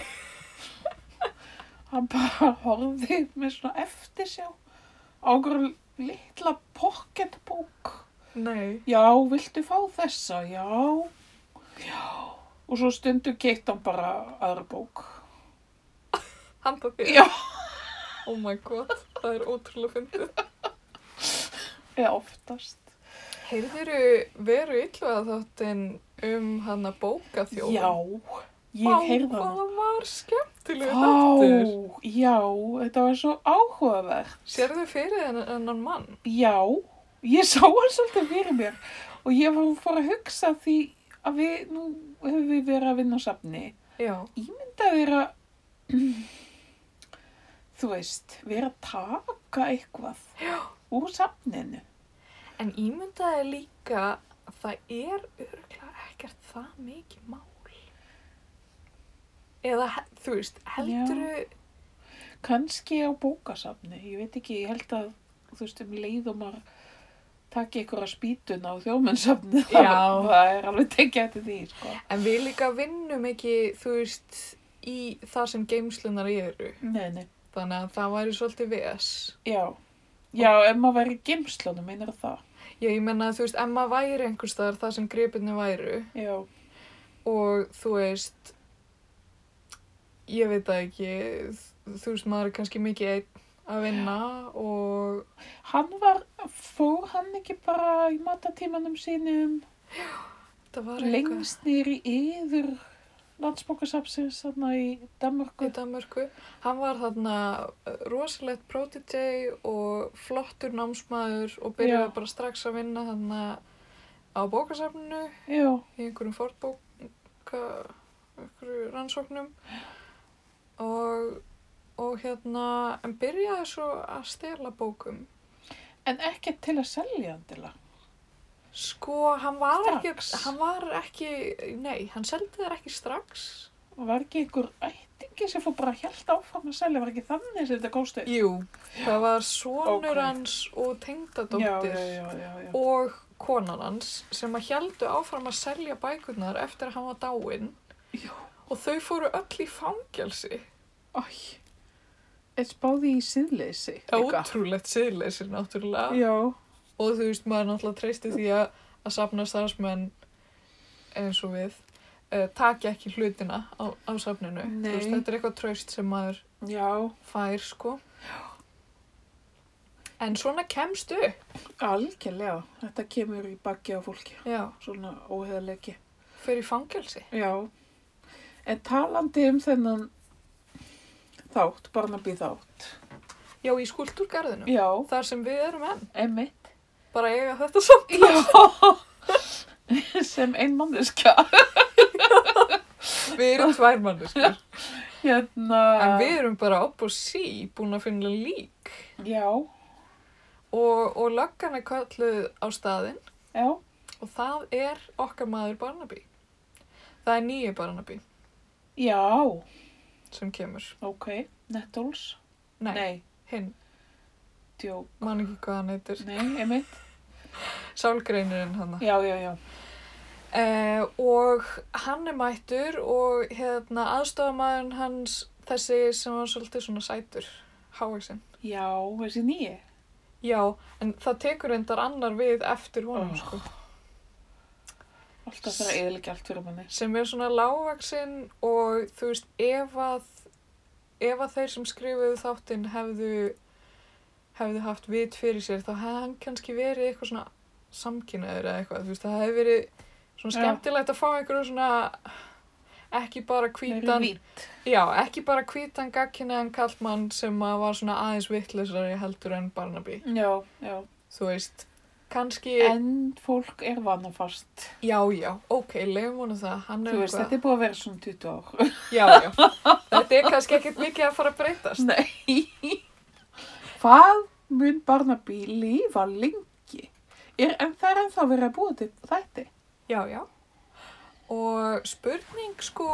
Speaker 2: hann bara horfði með svona eftir sjá á einhverju litla pocketbók.
Speaker 1: Nei.
Speaker 2: Já, viltu fá þessa? Já. Já. Og svo stundu keitt hann bara aðra bók.
Speaker 1: Handbókið?
Speaker 2: Já.
Speaker 1: Oh my god, það er ótrúlega fyndið.
Speaker 2: Eða oftast.
Speaker 1: Heyrðiru veru ylluða þáttinn um hana bókaþjóð?
Speaker 2: Já, ég heyrði
Speaker 1: Vá,
Speaker 2: hann.
Speaker 1: hvað það var skemmtilegu þáttur.
Speaker 2: Vá, já, þetta var svo áhugavert.
Speaker 1: Sérðu fyrir þennan þennan mann?
Speaker 2: Já, ég sá hann svolítið fyrir mér og ég var fór að hugsa því að við, nú hefur við verið að vinna á safni.
Speaker 1: Já.
Speaker 2: Þetta er að, þú veist, við erum að taka eitthvað Já. úr safninu.
Speaker 1: En ímyndaði líka að það er örgulega ekkert það mikið mál. Eða, he- þú veist, heldurðu,
Speaker 2: Kanski á bókasafni, ég veit ekki, ég held að, þú veist, um leið og maður taki ykkur að spýtuna á þjóðmennsafni.
Speaker 1: Já.
Speaker 2: Það er alveg tekið eftir því, sko.
Speaker 1: en við líka vinnum ekki, þú veist, í það sem geimslunar eru.
Speaker 2: Nei, nei.
Speaker 1: Þannig að það væri svolítið VS.
Speaker 2: Já. Já, ef maður væri í geimslunum, meinar það.
Speaker 1: Já, ég menna, þú veist, Emma væri einhvers staðar það sem gripinu væru
Speaker 2: Já.
Speaker 1: og þú veist, ég veit það ekki, þú veist, maður er kannski mikið einn að vinna og
Speaker 2: Hann var, fór hann ekki bara í matatímanum sínum
Speaker 1: það var
Speaker 2: lengst nýri yfir landsbókasapsins þarna í Danmarku?
Speaker 1: í Danmörku. Hann var þarna eh, rosalegt protégé og flottur námsmaður og byrjaði
Speaker 2: Já.
Speaker 1: bara strax að vinna þarna á bókasafninu
Speaker 2: Já,
Speaker 1: í einhverjum fornbóka, einhverju rannsóknum og, og hérna, en byrjaði svo að stela bókum.
Speaker 2: en ekki til að selja hann til að.
Speaker 1: Sko, hann var
Speaker 2: Strax?
Speaker 1: ekki, hann var ekki, nei, hann seldi þær ekki strax.
Speaker 2: Var ekki einhver ættingi sem fór bara held áfram að selja, var ekki þannig sem þetta góðstu?
Speaker 1: Jú, það var sonur
Speaker 2: Ókei.
Speaker 1: hans og tengdadóttir.
Speaker 2: Já, já, já, já, já.
Speaker 1: og konan hans sem að heldu áfram að selja bækurnar eftir að hann var dáinn
Speaker 2: Já.
Speaker 1: og þau fóru öll í fangelsi
Speaker 2: Æj, eins báði í síðleysi. líka.
Speaker 1: ótrúlegt siðleysir náttúrulega
Speaker 2: Já,
Speaker 1: og þú veist maður náttúrulega treysti því að, að safna starfsmenn eins og við uh, taki ekki hlutina á, á safninu Þú veist,
Speaker 2: Nei.
Speaker 1: þetta er eitthvað traust sem maður
Speaker 2: já,
Speaker 1: fær sko en svona kemstu
Speaker 2: algjörlega. Þetta kemur í bakki á fólki,
Speaker 1: já,
Speaker 2: svona óheðalegi.
Speaker 1: fyrir fangelsi
Speaker 2: Já, en talandi um þennan þátt, Barnaby þátt.
Speaker 1: já, í skuldurgarðinu
Speaker 2: Já,
Speaker 1: þar sem við erum enn
Speaker 2: emitt.
Speaker 1: bara eiga þetta saman
Speaker 2: Já, sem einmanniska.
Speaker 1: Við erum tvær manneskur.
Speaker 2: Hérna,
Speaker 1: En við erum bara upp og sí búin að finna lík.
Speaker 2: já,
Speaker 1: Og, og löggan er kölluð á staðinn
Speaker 2: já,
Speaker 1: og það er okkar maður Barnaby. Það er nýju Barnaby
Speaker 2: já,
Speaker 1: sem kemur.
Speaker 2: ok, Nettles.
Speaker 1: Nei,
Speaker 2: Nei,
Speaker 1: hinn,
Speaker 2: djó,
Speaker 1: man ekki hvað hann heitir.
Speaker 2: nei, emitt.
Speaker 1: Sálgreinurinn hann.
Speaker 2: Já, já, já,
Speaker 1: Eh, og hann er mættur og hérna aðstofamæðurinn hans þessi sem var svolítið svona sætur, hávaksinn.
Speaker 2: já, þessi nýju.
Speaker 1: Já, en það tekur reyndar annar við eftir vonum,
Speaker 2: Oh.
Speaker 1: sko.
Speaker 2: Alltaf það er eðilega allt fyrir manni.
Speaker 1: sem er svona lágvaksinn og þú veist ef að, ef að þeir sem skrifuðu þáttinn hefðu, hefðu haft vit fyrir sér þá hefði hann kannski verið eitthvað svona samkynnaður eða eitthvað þú veist það hefði verið svona
Speaker 2: Já.
Speaker 1: skemmtilegt að fá einhverju svona ekki bara
Speaker 2: Meiri
Speaker 1: hvítan
Speaker 2: vít.
Speaker 1: já ekki bara hvítan gagkinnaðan kallmann sem að var svona aðeins vittlisari heldur en Barnaby
Speaker 2: Já, já.
Speaker 1: þú veist kannski
Speaker 2: En fólk er vanafast.
Speaker 1: já já ok leiðum honum það hann
Speaker 2: Þú
Speaker 1: er
Speaker 2: veist, þetta er búið að vera svona 20 ár.
Speaker 1: Já, já. Þetta er kannski ekkert mikið að fara að breytast.
Speaker 2: Nei. Hvað mun Barnaby lífa lengi? Er, en það er ennþá verið að búa til þætti.
Speaker 1: Já, já. Og spurning sko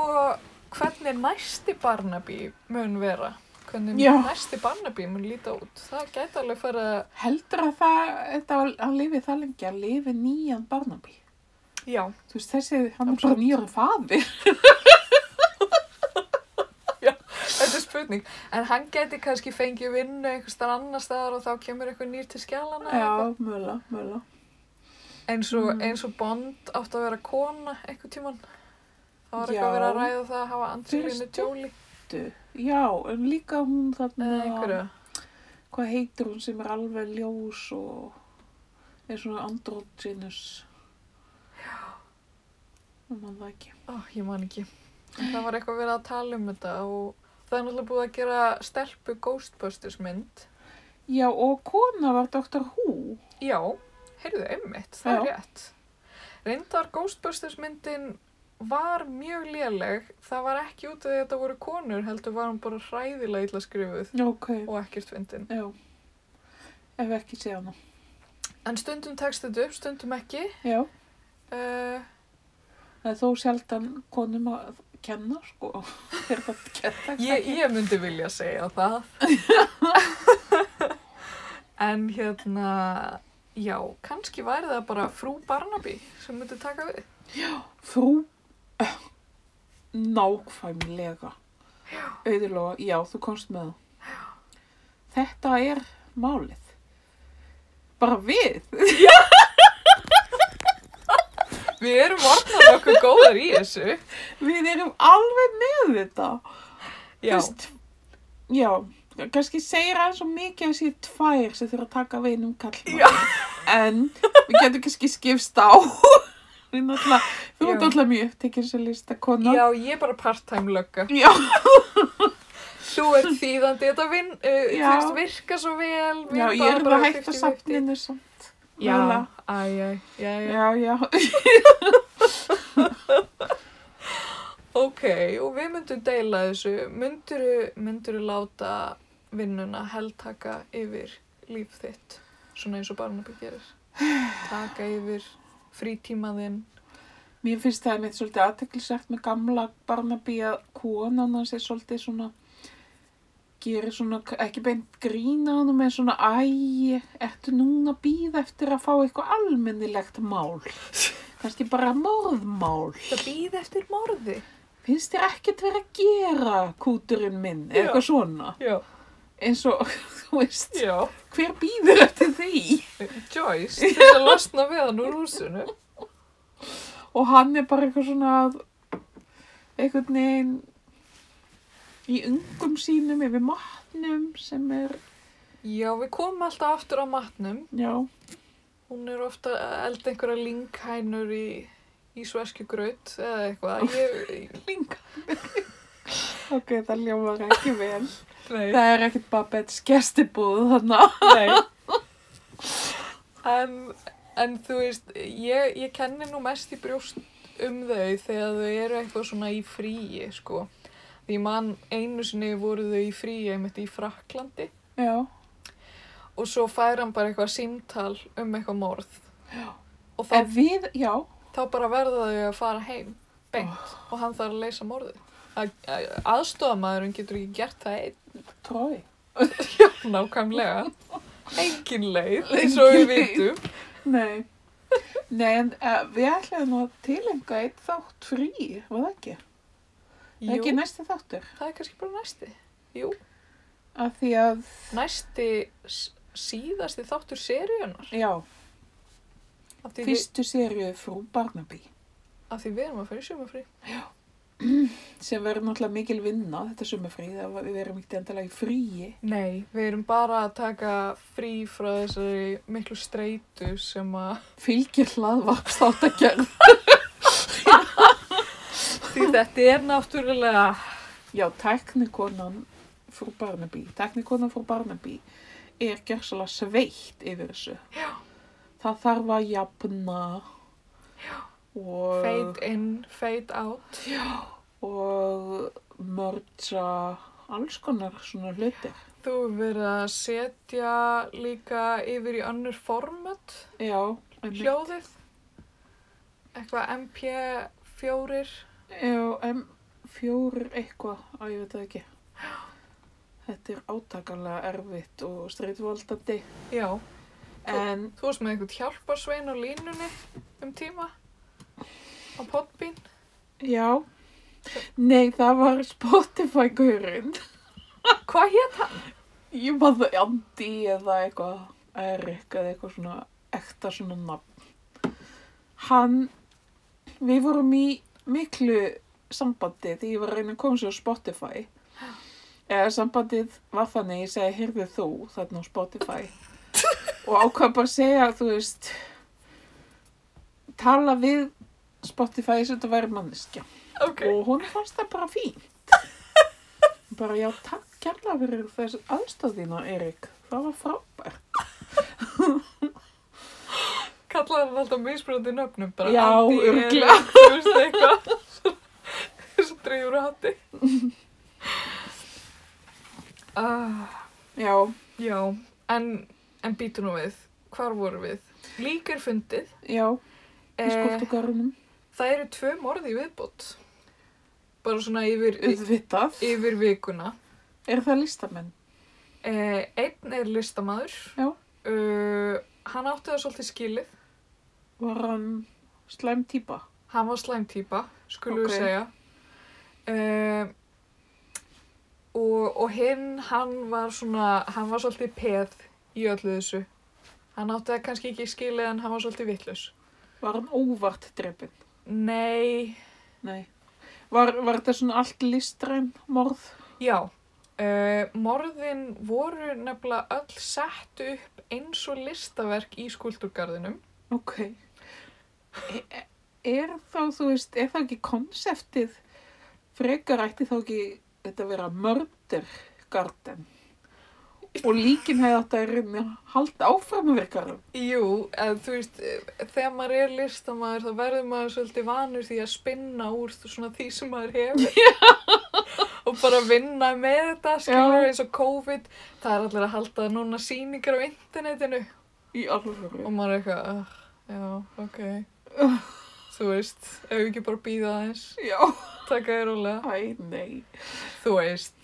Speaker 1: hvernig næsti Barnaby mun vera. Hvernig
Speaker 2: Já.
Speaker 1: næsti Barnaby mun líta út. Það gæti alveg fara að,
Speaker 2: Heldur að það, þetta, hann lifi það lengi að lifi nýjan Barnaby?
Speaker 1: já,
Speaker 2: Þú veist, þessi, hann er bara nýjara faðir.
Speaker 1: þetta er spurning. En hann geti kannski fengið vinnu einhvers þar annar staðar og þá kemur eitthvað nýr til skjálana. eða eitthvað.
Speaker 2: Já, mögulega, mögulega.
Speaker 1: Eins og,
Speaker 2: Mm.
Speaker 1: eins og Bond átti að vera kona einhver tíman. Það var
Speaker 2: Já.
Speaker 1: eitthvað verið að ræða það að hafa Angelina
Speaker 2: Fyrir
Speaker 1: Jolie
Speaker 2: Dö. Já, en líka hún þarna,
Speaker 1: eða einhverju.
Speaker 2: hvað heitir hún sem er alveg ljós og er svona andróginus. Já. Man það ekki.
Speaker 1: Ó, ég man ekki. En það var eitthvað verið að tala um þetta og það er náttúrulega búið að gera stelpu Ghostbusters mynd.
Speaker 2: Já, og kona var Dr. Who.
Speaker 1: Já, heyrðu, einmitt, það er
Speaker 2: Já.
Speaker 1: rétt. Reyndar Ghostbusters myndin var mjög léleg, það var ekki út af því að þetta voru konur, heldur var hún bara hræðilega illa skrifuð
Speaker 2: Ok,
Speaker 1: og ekkert fyndin.
Speaker 2: já. Ef ekki sé hana.
Speaker 1: En stundum tekst þetta upp, stundum ekki.
Speaker 2: Já,
Speaker 1: Uh,
Speaker 2: það er þó sjaldan konum að kenna, sko. Er það kenna?
Speaker 1: ég, ég myndi vilja segja það. en hérna, já, kannski væri það bara frú Barnaby sem myndi taka við.
Speaker 2: Frú Eh, Nákvæmlega Auðurlóa, já, þú komst með það Þetta er málið Bara við
Speaker 1: Við erum orðnað okkur góðar í þessu.
Speaker 2: Við erum alveg með þetta
Speaker 1: Já,
Speaker 2: Fyrst, já kannski segir aðeins og mikið að sé tvær sem þurfa að taka við einum
Speaker 1: Já.
Speaker 2: kallmann En við getum kannski skipst á Við náttúrulega-
Speaker 1: Já.
Speaker 2: Þú erum alltaf mjög upptekið sem listakona
Speaker 1: já, ég er bara part-time lögga.
Speaker 2: já.
Speaker 1: Þú ert þýðandi, þetta vinn, uh, þú
Speaker 2: Já.
Speaker 1: veist, virka svo vel. við
Speaker 2: já,
Speaker 1: erum
Speaker 2: ég er bara hægt að
Speaker 1: 50-50.
Speaker 2: safninu samt
Speaker 1: Já,
Speaker 2: Mögulega.
Speaker 1: æ, æ, já, já.
Speaker 2: Já, já.
Speaker 1: Ok, og við myndum deila þessu. Mynduru, mynduru láta vinnuna heldtaka yfir líf þitt, svona eins og Barnaby gerir. Taka yfir frítímaðinn.
Speaker 2: Mér finnst það neitt svolítið aðteklisagt með gamla Barnaby að konan hans er svolítið svona gerir svona, ekki beint grína hann með svona, æ, ertu núna að býða eftir að fá eitthvað almennilegt mál? Kannski bara morðmál.
Speaker 1: Það býð eftir morði.
Speaker 2: Finnst þér ekkert verið að gera kúturinn minn, eða
Speaker 1: Já.
Speaker 2: eitthvað svona?
Speaker 1: Já,
Speaker 2: Eins og, þú veist,
Speaker 1: já.
Speaker 2: hver býður eftir því?
Speaker 1: Joyce, til að losna við hann úr húsinu.
Speaker 2: Og hann er bara eitthvað svona að einhvern veginn í ungum sínum yfir matnum sem er,
Speaker 1: Já, við komum alltaf aftur á matnum.
Speaker 2: já,
Speaker 1: Hún er ofta að elda einhverja linghænur í, í sveskjugraut eða eitthvað. Ég,
Speaker 2: linga. ok, það ljómar ekki vel.
Speaker 1: nei,
Speaker 2: Það er ekkert Babettes gestibúð þarna.
Speaker 1: Nei. en, en þú veist, ég, ég kenni nú mest í brjóst um þau þegar þau eru eitthvað svona í fríi, sko. Því mann einu sinni voru þau í fríi einmitt í Fraklandi
Speaker 2: Já,
Speaker 1: og svo fær hann bara eitthvað símtal um eitthvað morð. Og þá,
Speaker 2: en við, já,
Speaker 1: þá bara verða þau að fara heim, beint, og hann þarf að leysa morðið. Aðstofamæðurinn getur ekki gert það einn.
Speaker 2: trói.
Speaker 1: Nákvæmlega. Engin leið, eins og við
Speaker 2: Engin leið.
Speaker 1: vitum.
Speaker 2: Nei. Nei, en uh, við ætlum nú að tilenga eitt þátt frí, var það ekki? Jú. Ekki
Speaker 1: Jú.
Speaker 2: næsti þáttur.
Speaker 1: Það er kannski bara næsti. Jú,
Speaker 2: Af því að,
Speaker 1: næsti s- síðasti þáttur seríunar.
Speaker 2: já,
Speaker 1: Af því, við,
Speaker 2: fyrstu sériu frú Barnaby.
Speaker 1: af því við erum að fara í sumafrí.
Speaker 2: sem verður náttúrulega mikil vinna þetta sumafrí þegar við erum ekkert endalega í fríi
Speaker 1: Nei, við erum bara að taka frí frá þessari miklu streitu sem að
Speaker 2: fylgir hlaðvarps þátt að gerð
Speaker 1: því þetta er náttúrulega
Speaker 2: já, teknikonan frú Barnaby teknikonan frú Barnaby er gerðsala sveitt yfir þessu já. það þarf að jafna og,
Speaker 1: fade in, fade out.
Speaker 2: og mörgja alls konar svona hlutir
Speaker 1: Þú hefur verið að setja líka yfir í önnur format
Speaker 2: já, einmitt.
Speaker 1: hljóðið. Eitthvað MP4.
Speaker 2: Já, M4 eitthvað, á ég veit það ekki. Þetta er átakanlega erfitt og streitvaldandi.
Speaker 1: Já,
Speaker 2: En
Speaker 1: Þú varst með einhvern hjálparsvein á línunni um tíma á podbín.
Speaker 2: já, nei það var Spotify-gaurinn
Speaker 1: Hvað hétt hann?
Speaker 2: Ég man það Andi eða eitthvað, Erik eða eitthvað svona ekta svona nafn. Hann, við vorum í miklu sambandi þegar ég var að reyna að koma sér á Spotify. Eða sambandið var þannig, ég segi, heyrðu þú þarna á Spotify. Og ákvað bara að segja, þú veist, tala við Spotify sem þetta væri manneskja
Speaker 1: Ok.
Speaker 2: og hún fannst það bara fínt. bara já, takk kærlega fyrir þessu aðstöðina, Erik. Það var frábært.
Speaker 1: Kallaði hann alltaf misbröndi nöfnum bara.
Speaker 2: Já,
Speaker 1: Andi,
Speaker 2: örugglega.
Speaker 1: Erik, Þú veist eitthvað. Svo dreigur á hatti. Ah,
Speaker 2: Já,
Speaker 1: já, en, en býtu nú við. Hvar vorum við? Lík er fundið.
Speaker 2: já, í
Speaker 1: Eh,
Speaker 2: skoltugarunum.
Speaker 1: Það eru tvö morði viðbútt. Bara svona yfir,
Speaker 2: Uðvitað.
Speaker 1: yfir vikuna.
Speaker 2: Er það listamenn?
Speaker 1: Eh, einn er listamaður.
Speaker 2: Já.
Speaker 1: Uh, hann átti það svolítið skilið.
Speaker 2: Var hann slæm típa?
Speaker 1: Hann var slæm típa, skulum
Speaker 2: Ok.
Speaker 1: við segja. Eh, og, og hinn, hann var svona, hann var svolítið peð í öllu þessu. Hann átti það kannski ekki skilið en hann var svolítið vitlaus.
Speaker 2: Var hann óvart drefin?
Speaker 1: Nei,
Speaker 2: Nei. Var, var þetta svona allt listræn morð?
Speaker 1: Já, uh, morðin voru nefnilega öll sett upp eins og listaverk í skuldugarðinum.
Speaker 2: Ok. E er þá, þú veist, er það ekki konseptið frekar ætti þá ekki þetta að vera mördergarden og líkin hefði átt að reyna að halda áfram að vera garðum.
Speaker 1: Jú, eða, þú veist, eh, þegar maður er listamaður þá verður maður svolítið vanur því að spinna úr þú- svona því sem maður hefur. og bara vinna með þetta, skilur
Speaker 2: Já.
Speaker 1: eins og COVID, það er allir að halda núna sýningar á internetinu.
Speaker 2: Í alvöru.
Speaker 1: Og maður er eitthvað, "Ugh, já, ok, þú veist, ef við ekki bara býða aðeins,
Speaker 2: Já.
Speaker 1: taka þér rólega.
Speaker 2: Æ, nei.
Speaker 1: þú veist,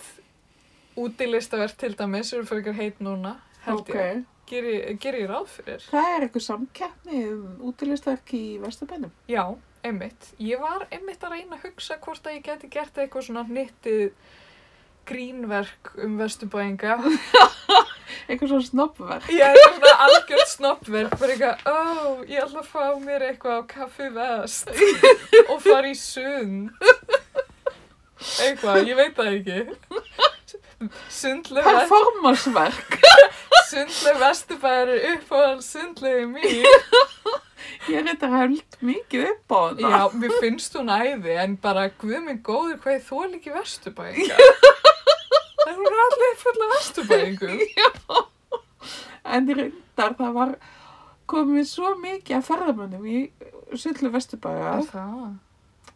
Speaker 1: útilistavert til dæmis eru fyrir heit núna, held
Speaker 2: Ok.
Speaker 1: ég, ger ég, ger ég ráð fyrir.
Speaker 2: Það er eitthvað samkeppni um útilistark í Vestabænum.
Speaker 1: Já, einmitt. Ég var einmitt að reyna að hugsa hvort að ég geti gert eitthvað svona hnittið grínverk um vesturbæinga.
Speaker 2: Eitthvað svona snoppverk.
Speaker 1: Ég er svona algjörð snoppverk, bara eitthvað, ó, ég ætla að fá mér eitthvað á kaffi vest og fara í sund. Eitthvað, ég veit það ekki. Sundlega
Speaker 2: Performansverk.
Speaker 1: Sundleg Vesturbæri er uppáðan sundlegi mín.
Speaker 2: Ég er þetta held mikið upp á hana.
Speaker 1: Já, mér finnst hún æði, en bara guð minn góður hvað ég þól ekki Vesturbæinga. Það hún er allir fulla Vesturbæingum.
Speaker 2: En reyndar það var komið svo mikið af ferðamönnum í Sullu Vesturbæja
Speaker 1: Er það?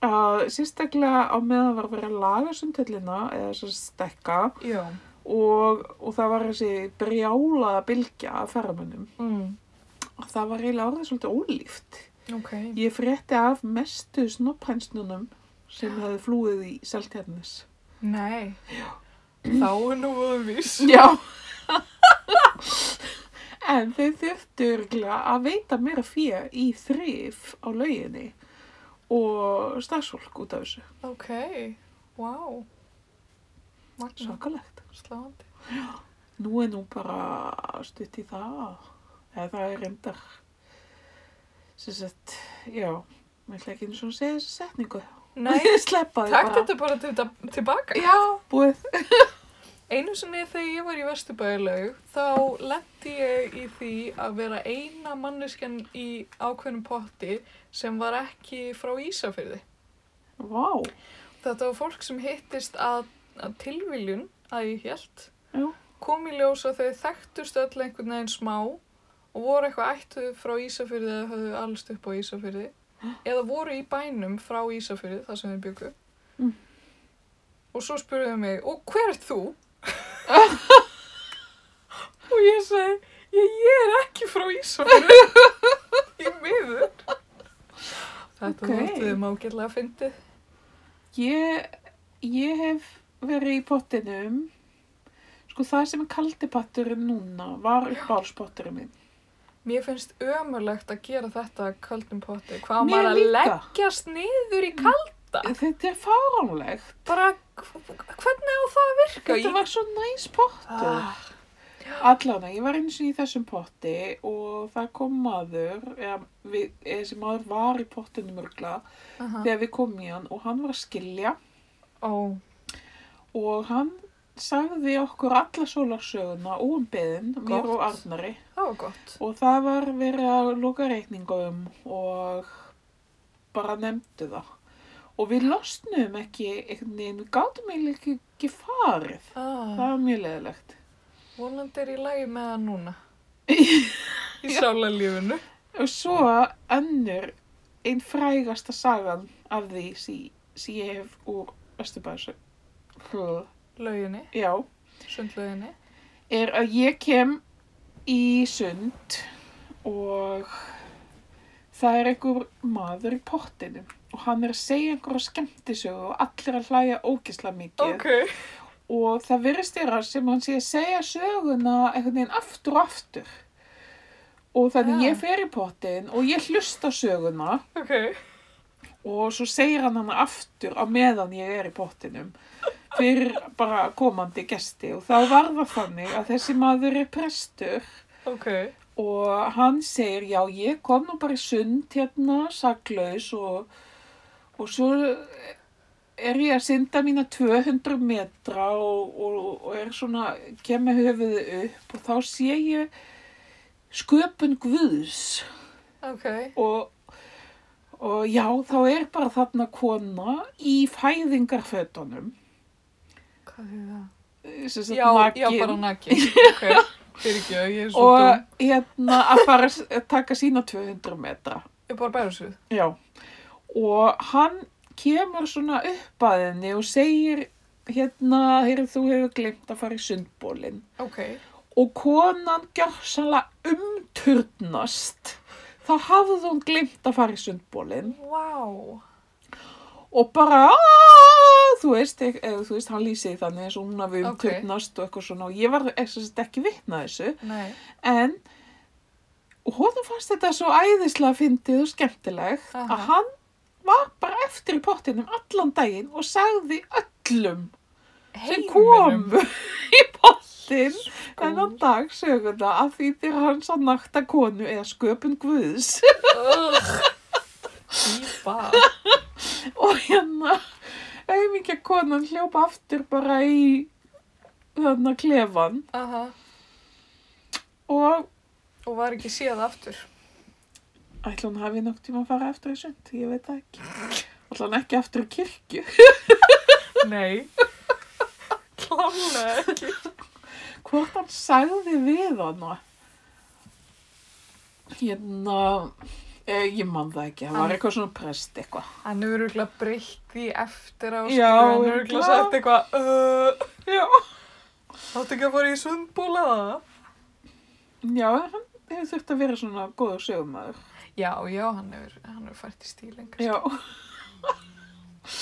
Speaker 2: að sérstaklega á meðan var verið að laga sundhöllina eða svo stekka
Speaker 1: Já.
Speaker 2: og, og það var þessi brjála bylgja af ferðamönnum
Speaker 1: Mm.
Speaker 2: og það var eiginlega orðið svolítið ólíft.
Speaker 1: Ok.
Speaker 2: Ég frétti af mestu snopphænsnunum sem hefði flúið í Seltjarnis.
Speaker 1: Nei. Þá er nú voðum vís.
Speaker 2: Já. en þau þurftu örgulega að veita meira fíja í þrif á lauginni og starfsfólk út af þessu.
Speaker 1: Ok. Wow. Magna.
Speaker 2: Svakalegt.
Speaker 1: Sláandi.
Speaker 2: Nú er nú bara stutt í það. Eða það er reyndar. Sem sagt, já, mér ætla ekki eins og að segja þessu setningu.
Speaker 1: Nei,
Speaker 2: Sleppa því
Speaker 1: takk
Speaker 2: bara.
Speaker 1: þetta bara til, tilbaka.
Speaker 2: Já, búið.
Speaker 1: Einu sinni þegar ég var í Vesturbæjarlaug þá lendi ég í því að vera eina manneskjan í ákveðnum potti sem var ekki frá Ísafyrði.
Speaker 2: Vá.
Speaker 1: Þetta var fólk sem hittist að, að tilviljun að ég held.
Speaker 2: Já.
Speaker 1: Kom í ljós að þau þekktust öll einhvern veginn smá og voru eitthvað ættu frá Ísafyrði eða höfðu allst upp á Ísafyrði. Eða voru í bænum frá Ísafyrði, þar sem þau byggu.
Speaker 2: Mm.
Speaker 1: Og svo spurðuðu mig, og hver ert þú? og ég segi, ég, ég er ekki frá Ísafyrði. í miður. Þetta
Speaker 2: Ok.
Speaker 1: okay. vartuðum ágætlega að fyndið.
Speaker 2: Ég, ég hef verið í pottinum, sko það sem er kaldipatturinn núna var uppáhaldspotturinn minn.
Speaker 1: Mér finnst ömurlegt að gera þetta kvöldum potti. Hvað á
Speaker 2: Mér
Speaker 1: maður að
Speaker 2: líka.
Speaker 1: leggjast niður í kald, þetta?
Speaker 2: Þetta er fáránlegt.
Speaker 1: Bara, hv- hvernig á það að virka?
Speaker 2: Þetta var svo næs pottur.
Speaker 1: Ah.
Speaker 2: Allan, ég var eins og í þessum potti og það kom maður, eða við, eða þessi maður var í pottinu mörgla
Speaker 1: Ah. Aha.
Speaker 2: þegar við komum í hann og hann var að skilja
Speaker 1: Ó,
Speaker 2: og hann sagði okkur alla sólarsöguna óumbeðin, mér
Speaker 1: Gott.
Speaker 2: og Arnari
Speaker 1: það var gott.
Speaker 2: og það var verið að loka reikningum og bara nefndu það. Og við losnum ekki, einhvern veginn, við gátum eiginlega ekki, ekki farið. Það
Speaker 1: Ah,
Speaker 2: var mjög leðilegt.
Speaker 1: vonandi er í lagi með það núna. Í sálarlífinu.
Speaker 2: Og svo önnur einn frægasta sagan af því sí, sí ég hef úr Östurbæðsö.
Speaker 1: Lauginni,
Speaker 2: Já,
Speaker 1: sundlauginni.
Speaker 2: er að ég kem í sund og það er einhver maður í pottinu og hann er að segja einhverja skemmtisögu og allir að hlæja ógisla mikið
Speaker 1: Ok.
Speaker 2: og það virðist þeirra sem hann sé að segja söguna einhvern veginn aftur og aftur og þannig
Speaker 1: Ah.
Speaker 2: ég fer í pottin og ég hlusta á söguna
Speaker 1: Ok.
Speaker 2: og svo segir hann hann aftur á meðan ég er í pottinum fyrir bara komandi gesti og þá var það þannig að þessi maður er prestur
Speaker 1: Ok.
Speaker 2: og hann segir já ég kom nú bara í sund hérna saklaus og, og svo er ég að synda mína 200 metra og, og, og er svona kem með höfuðu upp og þá sé ég sköpun Guðs
Speaker 1: Ok.
Speaker 2: og, og já, þá er bara þarna kona í fæðingarfötunum.
Speaker 1: Hvað er það?
Speaker 2: sem sagt
Speaker 1: Já, já,
Speaker 2: nakin,
Speaker 1: bara nakin. Ok. Fyrir ekki að ég er svo dum.
Speaker 2: Og hérna að fara s- að taka sína 200 metra.
Speaker 1: Ég er bara bæra svo.
Speaker 2: Já. Og hann kemur svona upp að henni og segir hérna, heyrðu þú hefur glemt að fara í sundbólinn.
Speaker 1: Ok.
Speaker 2: og konan gjörsanlega umturnast þá hafði hún glimt að fara í sundbólinn
Speaker 1: Wow.
Speaker 2: og bara "Aah!" þú veist, ek- eða, þú veist hann lýsið þannig eins og hún hafi
Speaker 1: Ok.
Speaker 2: umturnast og eitthvað svona og ég var ekki, ekki vitna þessu
Speaker 1: Nei.
Speaker 2: en honum fannst þetta svo æðislega fyndið og skemmtilegt
Speaker 1: Aha.
Speaker 2: að hann var bara eftir í pottinum allan daginn og sagði öllum sem
Speaker 1: Heiminum.
Speaker 2: komu í pottin
Speaker 1: Sko.
Speaker 2: þennan dag söguna að því þér hans að nakta konu eða sköpun guðs
Speaker 1: Ugh. Íba.
Speaker 2: og hérna auðvitað konan hljópa aftur bara í þarna klefan
Speaker 1: Aha.
Speaker 2: og
Speaker 1: Og var ekki séð aftur.
Speaker 2: ætla hún hafi nokk tíma að fara eftir í sund, ég veit það ekki ætla hún ekki aftur í kirkju
Speaker 1: Nei. Klálega ekki.
Speaker 2: hvort hann sagði við hana hérna eh, ég man það ekki, það var
Speaker 1: Hann-
Speaker 2: eitthvað svona prest eitthvað
Speaker 1: Hann hefur örgulega breytt því eftir á
Speaker 2: Já,
Speaker 1: skilur, hann hefur örgulega
Speaker 2: örugglega.
Speaker 1: sagt eitthvað uh,
Speaker 2: já
Speaker 1: Þáttu ekki að fara í sundbúla það?
Speaker 2: Já, hann hefur þurft að vera svona góður sögumæður.
Speaker 1: Já, já, hann hefur, hann hefur fært í stílinn kannski.
Speaker 2: Já.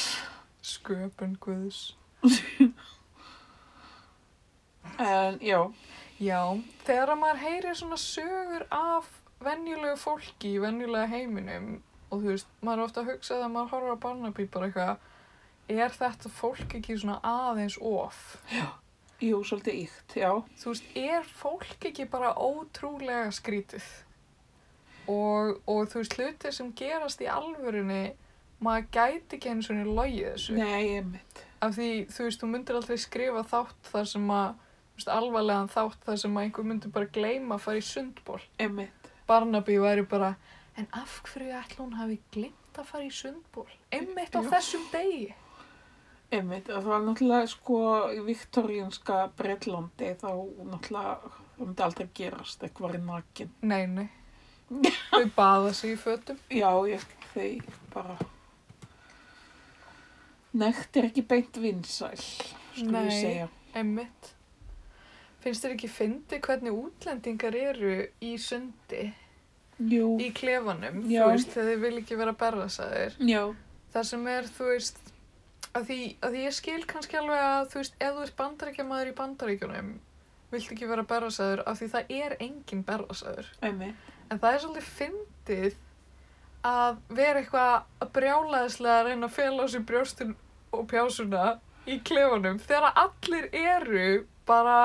Speaker 1: Sköpun guðs
Speaker 2: En, já,
Speaker 1: Já, þegar að maður heyrir svona sögur af venjulegu fólki í venjulega heiminum og þú veist, maður er ofta að hugsa þegar maður horfir á Barnaby bara eitthvað er þetta fólk ekki svona aðeins of?
Speaker 2: jú, svolítið íkt, já.
Speaker 1: þú veist, er fólk ekki bara ótrúlega skrítið? Og, og þú veist, hlutir sem gerast í alvörunni, maður gæti ekki einu svona logið þessu.
Speaker 2: Nei, einmitt.
Speaker 1: Af því, þú veist, þú myndir aldrei skrifa þátt þar sem að, þú veist, alvarlegan þátt þar sem að einhver myndir bara gleyma að fara í sundból.
Speaker 2: Einmitt.
Speaker 1: Barnaby væri bara, en af hverju ætla hún hafi glemt að fara í sundból? Einmitt á
Speaker 2: Já.
Speaker 1: þessum degi.
Speaker 2: Einmitt. Og það var náttúrulega, sko, í viktorínska Breitlandi þá náttúrulega, það myndi aldrei gerast eitthvað í nakin.
Speaker 1: Nei, nei. Þau baða sig í fötum.
Speaker 2: Já, ég, þau bara... Nekt er ekki beint vinsæl, skulum við
Speaker 1: Nei.
Speaker 2: segja.
Speaker 1: Einmitt. Finnst þér ekki fyndi hvernig útlendingar eru í sundi,
Speaker 2: Jú.
Speaker 1: í klefanum,
Speaker 2: Já.
Speaker 1: þú veist, þegar þeir vil ekki vera að berra sæðir.
Speaker 2: Já.
Speaker 1: Það sem er, þú veist, að því, að því ég skil kannski alveg að, þú veist, ef þú ert bandaríkjamaður í bandaríkjunum, vilt ekki vera að berra sæður af því það er engin berra sæður.
Speaker 2: Einmitt.
Speaker 1: En það er svolítið fyndið að vera eitthvað að brjálaðislega að reyna að fela á sér brjóstun og pjásuna í klefanum þegar að allir eru bara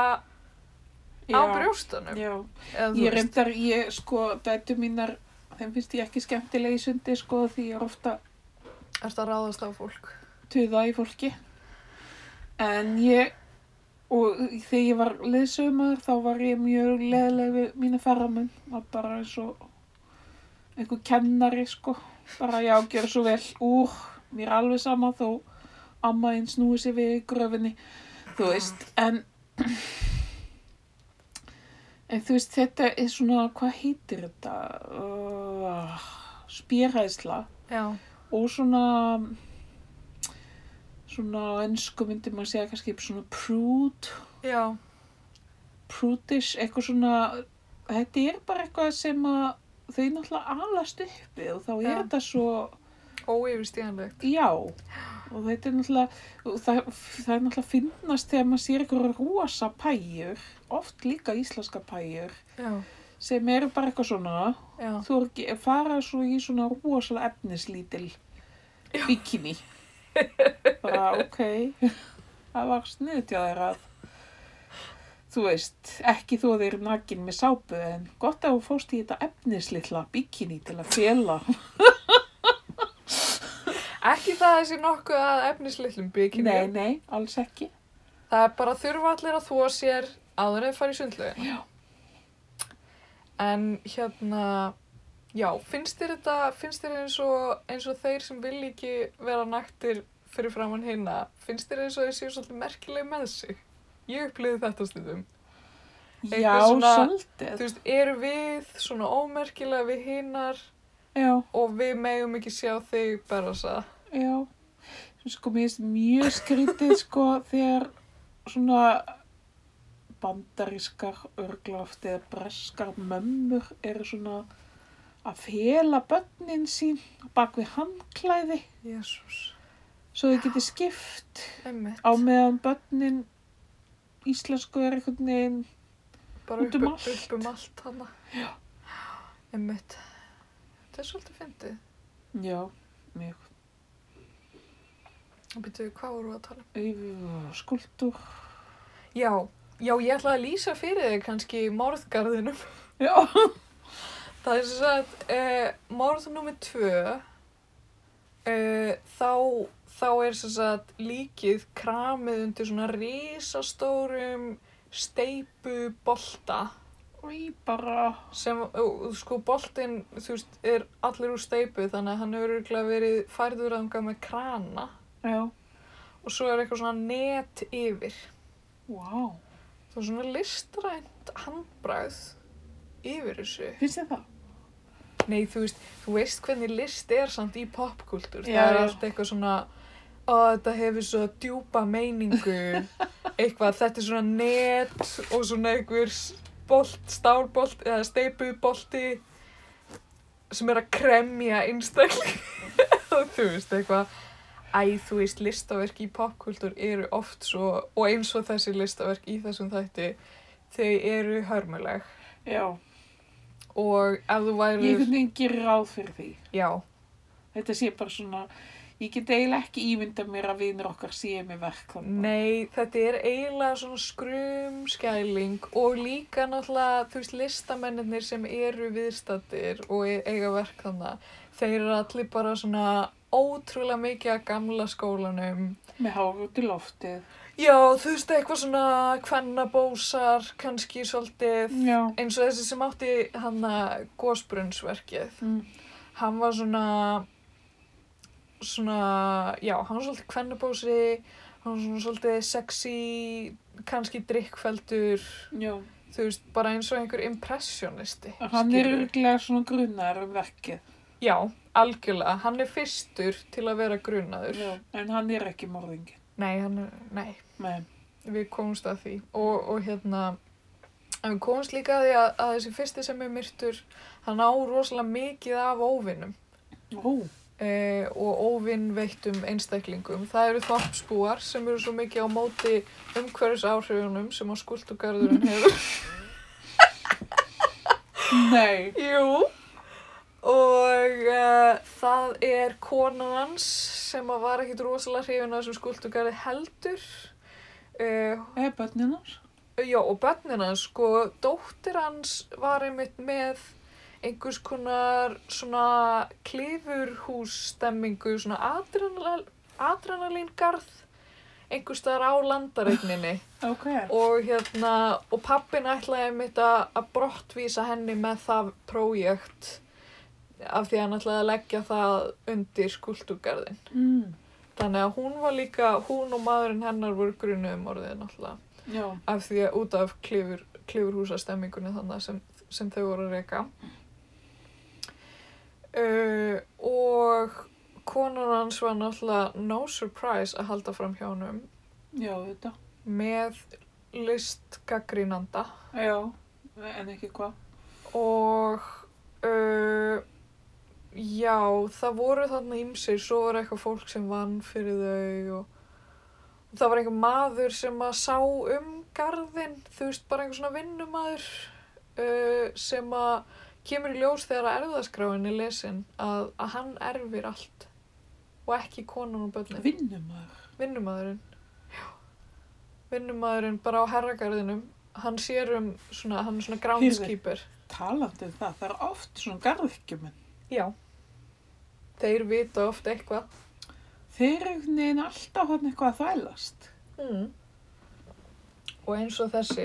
Speaker 1: á brjóstunum.
Speaker 2: Já,
Speaker 1: Eða, þú
Speaker 2: ég
Speaker 1: veist,
Speaker 2: reyndar, ég sko, dætu mínar, þeim finnst ég ekki skemmtilega í sundi sko því ég er ofta
Speaker 1: Ertu að ráðast á fólk?
Speaker 2: tuða í fólki. En ég, og þegar ég var liðsumar þá var ég mjög leðileg við mína ferramenn. Var bara eins og einhver kennari sko. Bara já, gjör svo vel úr. Mér er alveg sama þó amma einn snúi sér við í gröfinni. Þú veist, en... En þú veist, þetta er svona, hvað heitir þetta? Uh, spýræðsla
Speaker 1: Já.
Speaker 2: og svona svona á ennsku myndi maður segja kannski svona prude,
Speaker 1: Já.
Speaker 2: prudish eitthvað svona, þetta er bara eitthvað sem að þau náttúrulega alast uppi og þá er
Speaker 1: Já.
Speaker 2: þetta svo
Speaker 1: Óyfirstíðanlegt.
Speaker 2: já og þetta er náttúrulega og það, það er náttúrulega finnast þegar maður sér eitthvað rosa pæjur oft líka íslenska pæjur
Speaker 1: Já.
Speaker 2: sem eru bara eitthvað svona
Speaker 1: Já.
Speaker 2: þú er ekki, fara svo í svona rosalega efnislítil bikini bara ok það var sniðt hjá þér að þú veist, ekki þú að þeir nakin með sápu en gott að þú fóst í þetta efnislitla bikini til að fela
Speaker 1: Ekki það að þessi nokkuð að efnislitlum byggjum.
Speaker 2: nei, nei, alls ekki
Speaker 1: Það er bara að þurfa allir að þóa sér áður en fara í sundlaugina. En hérna, já, finnst þér þetta, finnst þér eins og, eins og þeir sem vil ekki vera naktir fyrir framann hinna, finnst þér eins og þeir séu svolítið merkileg með sig? Ég upplýði þetta stundum. Eitthvað
Speaker 2: já,
Speaker 1: svona- Þú
Speaker 2: svolítið
Speaker 1: veist, eru við svona ómerkilega við hinnar
Speaker 2: já,
Speaker 1: og við megum ekki sjá þig bara þess að.
Speaker 2: já sko, mér finnst mjög skrítið sko þegar svona bandarískar örgláft eða breskar mömmur eru svona að fela börnin sín bak við handklæði
Speaker 1: Jésús,
Speaker 2: svo þau getið skipt
Speaker 1: einmitt.
Speaker 2: á meðan börnin íslensku er einhvern veginn
Speaker 1: bara
Speaker 2: Út um
Speaker 1: upp,
Speaker 2: allt.
Speaker 1: upp um allt hana já einmitt þetta er svolítið fyndið
Speaker 2: já, mjög
Speaker 1: og byrjuðu hvað voru að tala um
Speaker 2: auð- skúltúr
Speaker 1: já, já ég ætlaði að lýsa fyrir þig kannski morðgarðinum
Speaker 2: já,
Speaker 1: það er sem sagt e, morð nummer tvö e, þá þá er sem sagt líkið kramið undir svona risastórum steipu bolta
Speaker 2: og ég bara
Speaker 1: sem, uh, sko, boltinn, þú veist, er allir úr steipu þannig að hann hefur örugglega verið færður ánga með krana
Speaker 2: já,
Speaker 1: og svo er eitthvað svona net yfir.
Speaker 2: wow,
Speaker 1: Það er svona listrænt handbragð yfir þessu.
Speaker 2: finnst þið það?
Speaker 1: Nei, þú veist, þú veist hvernig list er samt í popkultúr.
Speaker 2: Já,
Speaker 1: Það er
Speaker 2: já.
Speaker 1: allt eitthvað svona, ó, þetta hefur svo djúpa meiningu, eitthvað, þetta er svona net og svona einhver s- bolt, stálbolt eða steipubolti sem er að kremja einstakling. þú veist, eitthvað, æ, þú veist, listaverk í popkultúr eru oft svo, og eins og þessi listaverk í þessum þætti, þau eru hörmuleg.
Speaker 2: já,
Speaker 1: Og ef þú
Speaker 2: ég
Speaker 1: værir,
Speaker 2: einhvern veginn gerir ráð fyrir því
Speaker 1: já,
Speaker 2: Þetta sé bara svona, ég get eiginlega ekki ímynda mér að vinur okkar séu með verk. þarna.
Speaker 1: Nei, þetta er eiginlega svona skrumskæling og líka náttúrulega, þú veist, listamennir sem eru viðstattir og e- eiga verk þannig, þeir eru allir bara svona ótrúlega mikið að gamla skólanum.
Speaker 2: Með hár út í loftið.
Speaker 1: Já, þú veist, eitthvað svona kvennabósar, kannski svolítið,
Speaker 2: Já.
Speaker 1: eins og þessi sem átti hann að gósbrunnsverkið.
Speaker 2: Mm.
Speaker 1: Hann var svona, svona, já, hann var svolítið kvennabósi, hann var svona svolítið sexy, kannski drikkfeldur,
Speaker 2: Já.
Speaker 1: þú veist, bara eins og einhver impressionisti.
Speaker 2: Hann er
Speaker 1: skilurðu.
Speaker 2: örglega svona grunnar um verkið.
Speaker 1: Já, algjörlega, hann er fyrstur til að vera grunaður.
Speaker 2: Já. En hann er ekki morðingin.
Speaker 1: Nei, hann er, nei,
Speaker 2: Nei.
Speaker 1: við komumst að því og, og hérna, en við komumst líka að því að, að þessi fyrsti sem er myrtur, hann á rosalega mikið af óvinnum.
Speaker 2: Ó,
Speaker 1: eh, og óvinnveittum einstaklingum. Það eru þorpsbúar sem eru svo mikið á móti umhverfisáhrifunum sem á skuldugarðurinn hefur.
Speaker 2: nei.
Speaker 1: Jú, og uh, það er konan hans sem að var ekkit rosalega hrifin að þessum skuldugarði heldur uh,
Speaker 2: Eða börninar?
Speaker 1: já og bönnin hans sko dóttir hans var einmitt með einhvers konar svona klifurhússtemmingu svona adrenal- adrenalingarð einhvers staðar á landaregninni
Speaker 2: Ok.
Speaker 1: og hérna og pappin ætlaði mitt að að brottvísa henni með það prójekt af því að hann ætlaði að leggja það undir skuldugarðin
Speaker 2: Mm.
Speaker 1: þannig að hún var líka, hún og maðurinn hennar voru grunuð um orðið náttúrulega
Speaker 2: Já.
Speaker 1: af því að út af klifur, klifurhúsastemmingunni þannig sem, sem þau voru að reyka uh, og konan hans var náttúrulega no surprise að halda fram hjá honum
Speaker 2: Já, þetta.
Speaker 1: með listgaggrínanda
Speaker 2: Já. En ekki hvað.
Speaker 1: og uh, já, það voru þarna ymsir, svo var eitthvað fólk sem vann fyrir þau og og það var einhver maður sem að sá um garðin, þú veist, bara einhver svona vinnumadur uh, sem að kemur í ljós þegar að erfðaskráin er lesin að, að hann erfir allt og ekki konan og börnin,
Speaker 2: Vinnumar.
Speaker 1: vinnumadurinn vinnumadurinn bara á herragarðinum hann sér um svona, hann er svona groundskeeper
Speaker 2: Talandi um það, það er oft svona garðkjumenn.
Speaker 1: Já. Þeir vita oft eitthvað.
Speaker 2: Þeir eru einhvern veginn alltaf hann eitthvað að þvælast.
Speaker 1: Mm. Og eins og þessi,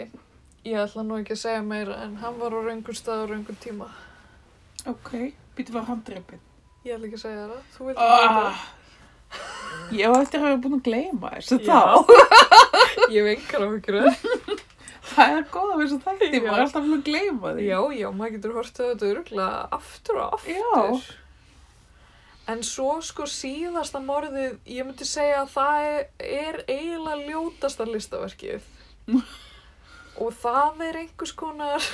Speaker 1: ég ætla nú ekki að segja meira en hann var á raungum stað á raungum tíma.
Speaker 2: Ok. Býtu var hann dreipin.
Speaker 1: Ég ætla ekki að segja það. Þú vildi
Speaker 2: Ah.
Speaker 1: ah.
Speaker 2: Ég var eftir að vera búin að gleyma þessu
Speaker 1: Já.
Speaker 2: þá.
Speaker 1: það. Ég vinkar á ykkur.
Speaker 2: Það er góð af þessu þætti,
Speaker 1: Já.
Speaker 2: maður er alltaf búin að gleyma því.
Speaker 1: já, já, maður getur hortið á þetta öruglega aftur og aftur.
Speaker 2: Já.
Speaker 1: En svo sko síðasta morðið, ég myndi segja að það er, er eiginlega ljótasta listaverkið. og það er einhers konar,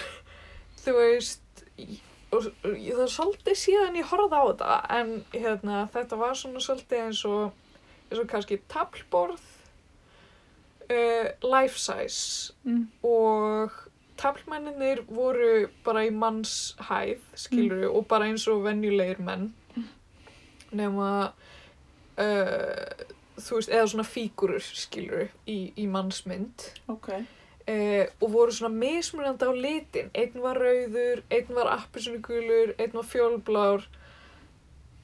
Speaker 1: þú veist, í- og, og, ég- það er svolítið síðan ég horfði á þetta, en hérna, þetta var svona svolítið eins og, eins og kannski tablborð, uh, life size
Speaker 2: Mm.
Speaker 1: og tablmenninir voru bara í mannshæð, skiluru, og bara eins og venjulegir menn nema uh, þú veist, eða svona fígurur, skiluru, í, í mannsmynd
Speaker 2: Ok.
Speaker 1: uh, og voru svona mismunandi á litin einn var rauður, einn var appisunugulur, einn var fjólblár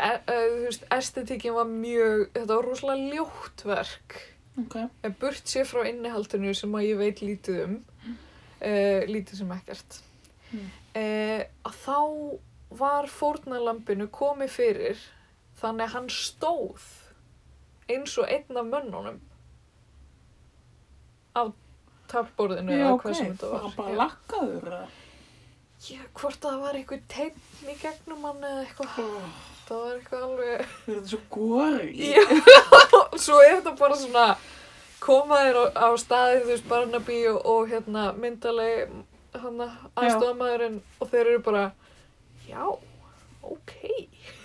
Speaker 1: e, uh, þú veist, estetikin var mjög þetta var rosalega ljótt verk
Speaker 2: Ok.
Speaker 1: En burt sé frá innihaldinu sem að ég veit lítið um, uh, lítið sem ekkert,
Speaker 2: Mm.
Speaker 1: uh, að þá var fórnarlambinu komið fyrir þannig að hann stóð eins og einn af mönnunum á taflborðinu
Speaker 2: Já,
Speaker 1: eða
Speaker 2: ok.
Speaker 1: hvað sem þetta
Speaker 2: Var
Speaker 1: var.
Speaker 2: hann bara
Speaker 1: Já.
Speaker 2: lakkaður eða?
Speaker 1: Já, hvort að það var einhver teinn í gegnum hann eða eitthvað,
Speaker 2: Oh.
Speaker 1: það var eitthvað alveg...
Speaker 2: Er þetta svo góri?
Speaker 1: Já, svo er þetta bara svona koma þér á, á staði þú veist Barnaby og, og hérna myndalegi hann aðstofamæðurinn og þeir eru bara já, ok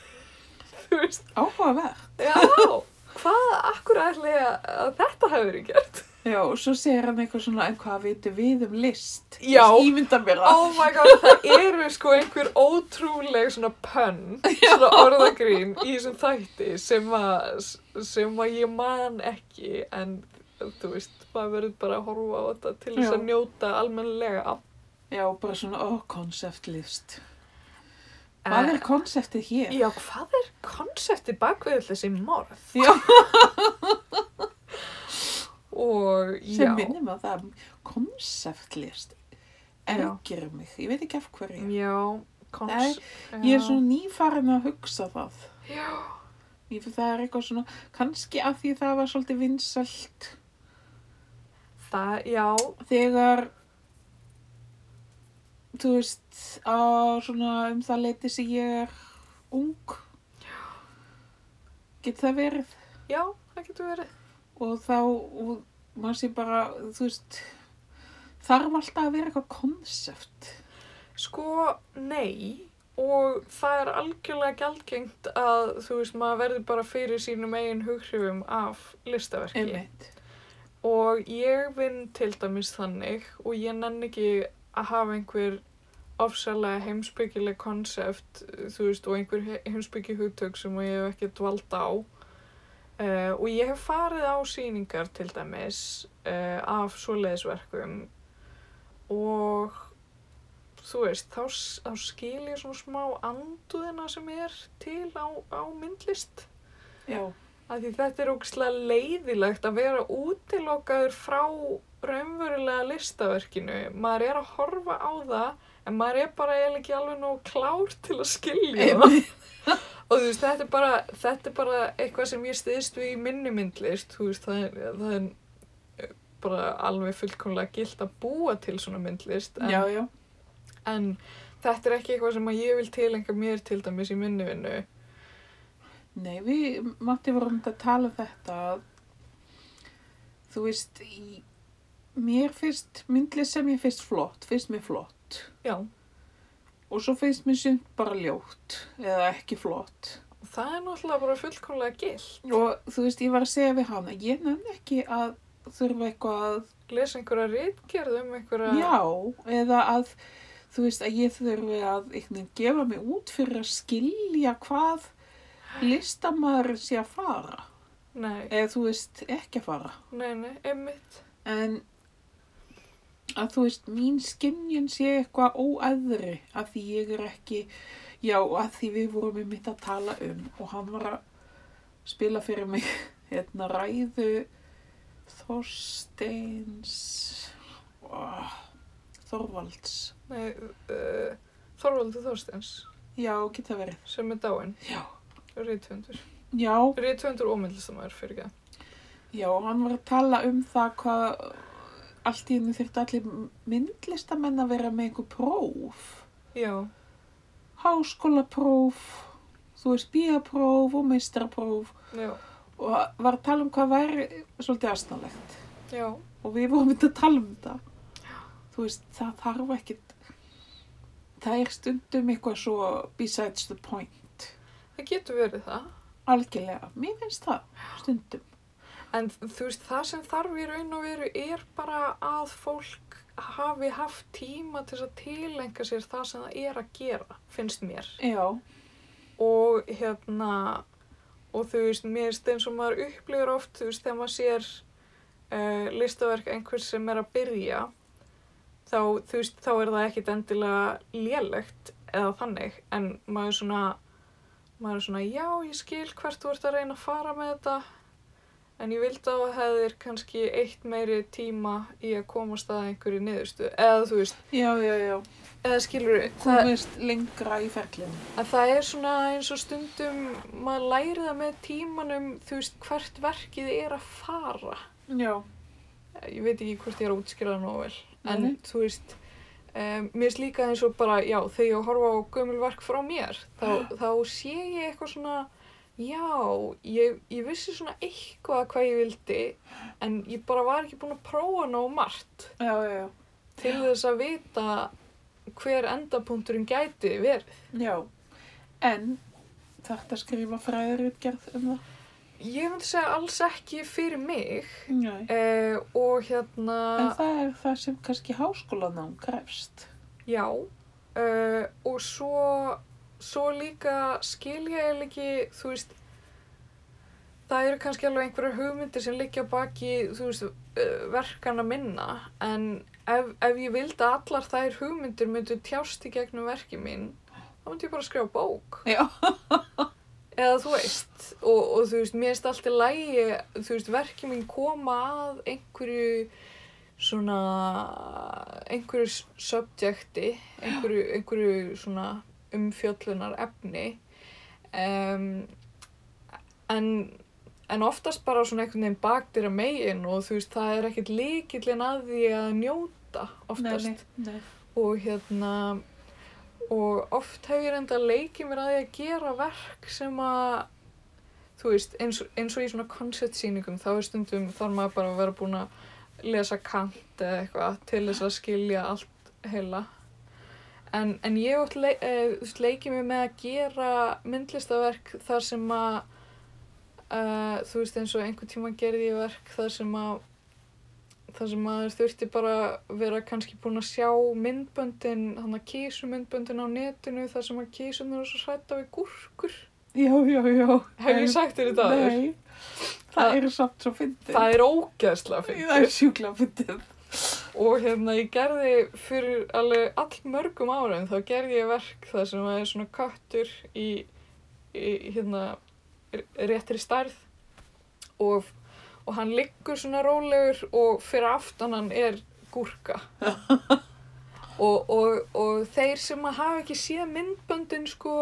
Speaker 1: þú veist,
Speaker 2: Áhugavert.
Speaker 1: já hvað, akkur ætli ég að, að þetta hefur verið gert
Speaker 2: Já, og svo segir hann eitthvað svona, en hvað vitum við um list?
Speaker 1: Já.
Speaker 2: Ég ímynda mér það.
Speaker 1: oh my god, það eru sko einhver ótrúleg svona pönn svona orðagrín í þessum þætti sem að sem að ég man ekki en þú veist, maður verður bara að horfa á þetta til þess að
Speaker 2: Já.
Speaker 1: njóta almennilega
Speaker 2: Já, bara svona, ó, konsept list. Hvað er konseptið hér?
Speaker 1: Já, hvað er konsepti bakvið þessi morð?
Speaker 2: Já.
Speaker 1: Og já,
Speaker 2: Sem minnir mig að það er konsept list. Ergir mig, ég veit ekki af hverju.
Speaker 1: já, kons...
Speaker 2: Ég er svona nýfarin að hugsa það.
Speaker 1: Já,
Speaker 2: Ég fyrir það er eitthvað svona, kannski af því það var svolítið vinsalt
Speaker 1: það, já,
Speaker 2: þegar, þú veist, á svona um það leiti sem ég er ung. Get það verið?
Speaker 1: já, það getur verið.
Speaker 2: og þá og maður sé bara, þú veist þarf alltaf að vera eitthvað konsept
Speaker 1: Sko, nei og það er algjörlega gjaldgengt að þú veist maður verður bara fyrir sínum eigin hughrifum af listaverki
Speaker 2: einmitt
Speaker 1: og ég vinn til dæmis þannig og ég nenn ekki að hafa einhver ofsalega heimsbyggileg konsept, þú veist, og einhver he- heimsbyggi hugtök sem ég hef ekki dvald á. Uh, og ég hef farið á sýningar til dæmis uh, af svoleiðisverkum og þú veist, þá, s- þá skil ég svona smá anduðina sem er til á, á myndlist.
Speaker 2: Já.
Speaker 1: Af því þetta er ógislega leiðilegt að vera útilokaður frá raunverulega listaverkinu. Maður er að horfa á það en maður er bara eiginlega ekki alveg nóg klár til að skilja það. Og þú veist, þetta er bara, þetta er bara eitthvað sem ég stiðist við í minni myndlist. Þú veist, það er, það er eh, bara alveg fullkomlega gilt að búa til svona myndlist. En,
Speaker 2: Já, já.
Speaker 1: en þetta er ekki eitthvað sem að ég vil tilengja mér til dæmis í minni vinnu.
Speaker 2: Nei, við, Matti vorum að tala um þetta að, þú veist, í, mér finnst, myndlist sem ég finnst flott, finnst mér flott
Speaker 1: Já,
Speaker 2: og svo finnst mér sumt bara ljótt eða ekki flott.
Speaker 1: og það er náttúrulega bara fullkomlega gilt.
Speaker 2: Og þú veist, ég var að segja við hana, ég nenni ekki að þurfa eitthvað að,
Speaker 1: lesa einhverja rítgerð um einhverja
Speaker 2: já, eða að, þú veist, að ég þurfi að einhvern veginn gefa mig út fyrir að skilja hvað listamaður sé að fara,
Speaker 1: nei,
Speaker 2: eða þú veist, ekki að fara.
Speaker 1: nei, nei, einmitt
Speaker 2: en að þú veist, mín skinnjun sé eitthvað óæðri að því ég er ekki, já, að því við vorum við mitt að tala um og hann var að spila fyrir mig hérna ræðu Þorsteins oh, Þorvalds
Speaker 1: nei, uh, Þorvaldur Þorsteins
Speaker 2: já, geta verið,
Speaker 1: sem er dáinn,
Speaker 2: já
Speaker 1: rítvöndur
Speaker 2: já,
Speaker 1: rítvöndur og myndlistamæður fyrir ekki
Speaker 2: já, hann var að tala um það hvað allt í henni þyrfti allir myndlistamenn að vera með einhver próf
Speaker 1: já,
Speaker 2: háskólapróf, þú veist, bíapróf og meistarapróf
Speaker 1: já,
Speaker 2: og var að tala um hvað væri svolítið aðstæðanlegt
Speaker 1: já
Speaker 2: og við vorum myndið að tala um þetta. Þú veist, það þarf ekkit, það er stundum eitthvað svo besides the point.
Speaker 1: það getur verið það
Speaker 2: Algjörlega, mér finnst það stundum.
Speaker 1: en þú veist, það sem þarf í raun og veru er bara að fólk hafi haft tíma til þess að tilenga sér það sem það er að gera finnst mér
Speaker 2: Já,
Speaker 1: og hérna og þú veist, mér finnst eins og maður upplifur oft, þú veist, þegar maður sér uh, listaverk einhvers sem er að byrja þá, þú veist, þá er það ekkit endilega lélegt eða þannig, en maður er svona maður er svona, já, ég skil hvert þú ert að reyna að fara með þetta en ég vildi að það hefðir kannski eitt meiri tíma í að komast að einhverju niðurstu, eða þú veist
Speaker 2: já, já, já.
Speaker 1: eða skilur
Speaker 2: Þú veist lengra í ferlinu.
Speaker 1: að það er svona eins og stundum maður læri það með tímanum þú veist hvert verkið er að fara
Speaker 2: Já,
Speaker 1: ég veit ekki hvort ég er að útskýra það nógu vel en
Speaker 2: Nei, nei.
Speaker 1: þú veist um, mér er líka eins og bara já þegar ég horfa á gömul verk frá mér þá,
Speaker 2: Ah.
Speaker 1: þá sé ég eitthvað svona já, ég, ég vissi svona eitthvað hvað ég vildi en ég bara var ekki búin að prófa nógu margt
Speaker 2: já, já, já.
Speaker 1: til þess að vita hver endapunkturinn gæti verið
Speaker 2: Já, en þarf að skrifa fræðarutgerð um það?
Speaker 1: ég myndi segja alls ekki fyrir mig
Speaker 2: Nei.
Speaker 1: Uh, og
Speaker 2: En
Speaker 1: hérna,
Speaker 2: það er það sem kannski háskólanám krefst.
Speaker 1: já, uh, og svo, svo líka skil ég eiginlega ekki, þú veist, það eru kannski alveg einhverjar hugmyndir sem liggja að baki, þú veist, uh, verkana minna, en ef, ef ég vildi að allar þær hugmyndir myndu tjást í gegnum verki mín, þá myndi ég bara skrifa bók.
Speaker 2: Já.
Speaker 1: Eða þú veist, og, og þú veist, mér finnst allt í lægi, þú veist, verkið mín koma að einhverju svona, einhverju s- subjecti, einhverju, einhverju svona umfjöllunar efni. Um, en, en oftast bara svona einhvern veginn baktir að megin og þú veist, það er ekkert líkillin að því að njóta oftast
Speaker 2: nei.
Speaker 1: og hérna og oft hef ég reynda leikið mér að því að gera verk sem að þú veist, eins, eins og í svona konceptsýningum þá er stundum þarf maður bara að vera búin að lesa kant eða eitthvað til þess að skilja allt heila en, en ég oft leik, uh, leikið mér með að gera myndlistaverk þar sem að eh, uh, þú veist eins og einhvern tíma gerði ég verk þar sem að þar sem maður þurfti bara að vera kannski búin að sjá myndböndin, þannig að kísumyndböndin á netinu þar sem að kísunar er svo hrætta við gúrkur.
Speaker 2: Já, já, já.
Speaker 1: Hef ég sagt þér þetta aður?
Speaker 2: Nei, það er samt svo fyndið.
Speaker 1: Það er ógæðslega fyrir.
Speaker 2: Það er sjúkla fyndið.
Speaker 1: Og hérna ég gerði fyrir alveg allmörgum árum þá gerði ég verk þar sem að er svona köttur í, í hérna r- réttri stærð og, og hann liggur svona rólegur og fyrir aftan hann er gúrka. og, og, og þeir sem að hafa ekki séð myndböndin sko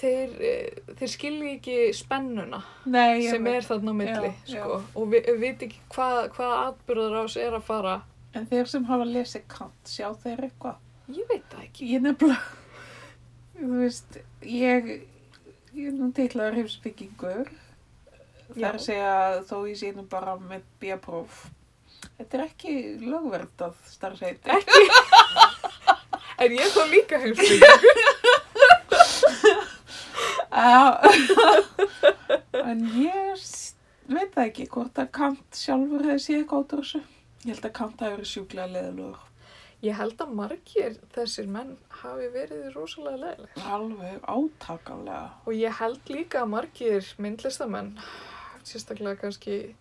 Speaker 1: þeir, eh, þeir skilji ekki spennuna
Speaker 2: Nei, ég
Speaker 1: sem
Speaker 2: veit.
Speaker 1: er þarna á milli
Speaker 2: Já, já.
Speaker 1: sko. og við vi veit ekki hvað, hvaða atbyrður ás er að fara
Speaker 2: En þeir sem hafa lesið kant, sjá þeir eitthvað?
Speaker 1: ég veit það ekki
Speaker 2: Ég nefnilega, þú veist, ég, ég er nú titlaður heimsbyggingur. Það er
Speaker 1: Já.
Speaker 2: að segja þó ég sé nú bara með bíapróf. Þetta er ekki lögverndað starfsheiti.
Speaker 1: en ég er þá líka heimsbyggjum
Speaker 2: Já. en ég s- veit það ekki hvort að Kant sjálfur hefði séð eitthvað út úr þessu. Ég held að Kant hafi verið sjúklega leðilugur.
Speaker 1: ég held að margir þessir menn hafi verið rosalega leðileg
Speaker 2: Alveg átakanlega.
Speaker 1: og ég held líka að margir myndlistamenn sérstaklega kannski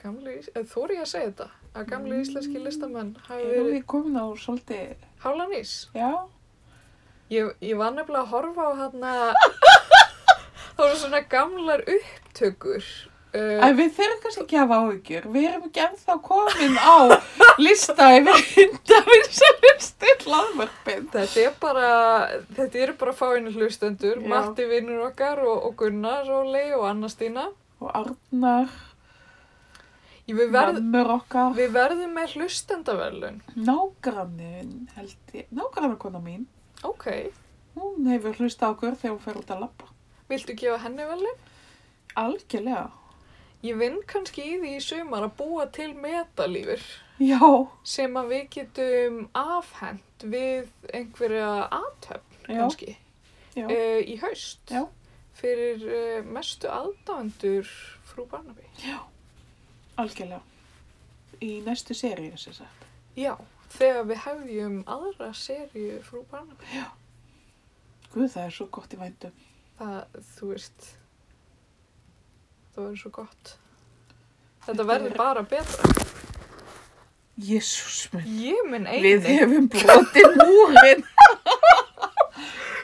Speaker 1: gamli, eða þóri ég að segja þetta að gamli íslenski listamenn hafi
Speaker 2: Erum
Speaker 1: verið
Speaker 2: við komin á svolítið,
Speaker 1: hálanís
Speaker 2: já?
Speaker 1: ég, ég var nefnilega að horfa á þarna það voru svona gamlar upptökur uh,
Speaker 2: En við þurfum kannski ekki að hafa áhyggjur. Við erum ekki ennþá komin á lista yfir hindarinn sem er still aðvörpinn.
Speaker 1: Þetta er bara, þetta eru bara fáinu hlustendur,
Speaker 2: Já.
Speaker 1: Matti vinnur okkar og, og Gunnar, Róli og Anna Stína.
Speaker 2: Og Arnar,
Speaker 1: Ég- Við, verð,
Speaker 2: mammur okkar,
Speaker 1: við verðum með hlustendaverlun.
Speaker 2: nágrannin held ég, nágrannakona mín.
Speaker 1: Ok,
Speaker 2: Hún hefur hlusta á okkur þegar hún fer út að labba.
Speaker 1: viltu gefa henni verlun?
Speaker 2: Algjörlega.
Speaker 1: Ég vinn kannski í því í sumar að búa til metalífur
Speaker 2: Já,
Speaker 1: sem að við getum afhend við einhverja aðtöfn
Speaker 2: Já.
Speaker 1: kannski
Speaker 2: já.
Speaker 1: uh, í haust
Speaker 2: Já.
Speaker 1: fyrir uh, mestu aðdáendur frú Barnaby.
Speaker 2: Algjörlega. Í næstu seríu sem sagt.
Speaker 1: Já, þegar við hefjum aðra seríu frú Barnaby.
Speaker 2: Guð, það er svo gott í vændum.
Speaker 1: Það, þú veist, það verður svo gott. Þetta verður bara betra.
Speaker 2: Jésús minn.
Speaker 1: Ég minn
Speaker 2: Við
Speaker 1: eini.
Speaker 2: hefum brotið múrin.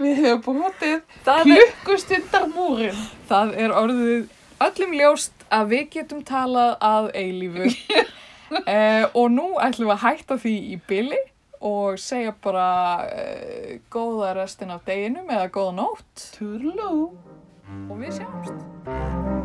Speaker 2: Við hefum brotið
Speaker 1: Það er,
Speaker 2: klukkustundar múrin.
Speaker 1: það er orðið öllum ljóst að við getum talað að eilífu. eh, og nú ætlum við að hætta því í bili og segja bara eh, góða restin af deginum eða góða nótt
Speaker 2: Toodaloo.
Speaker 1: og við sjáumst.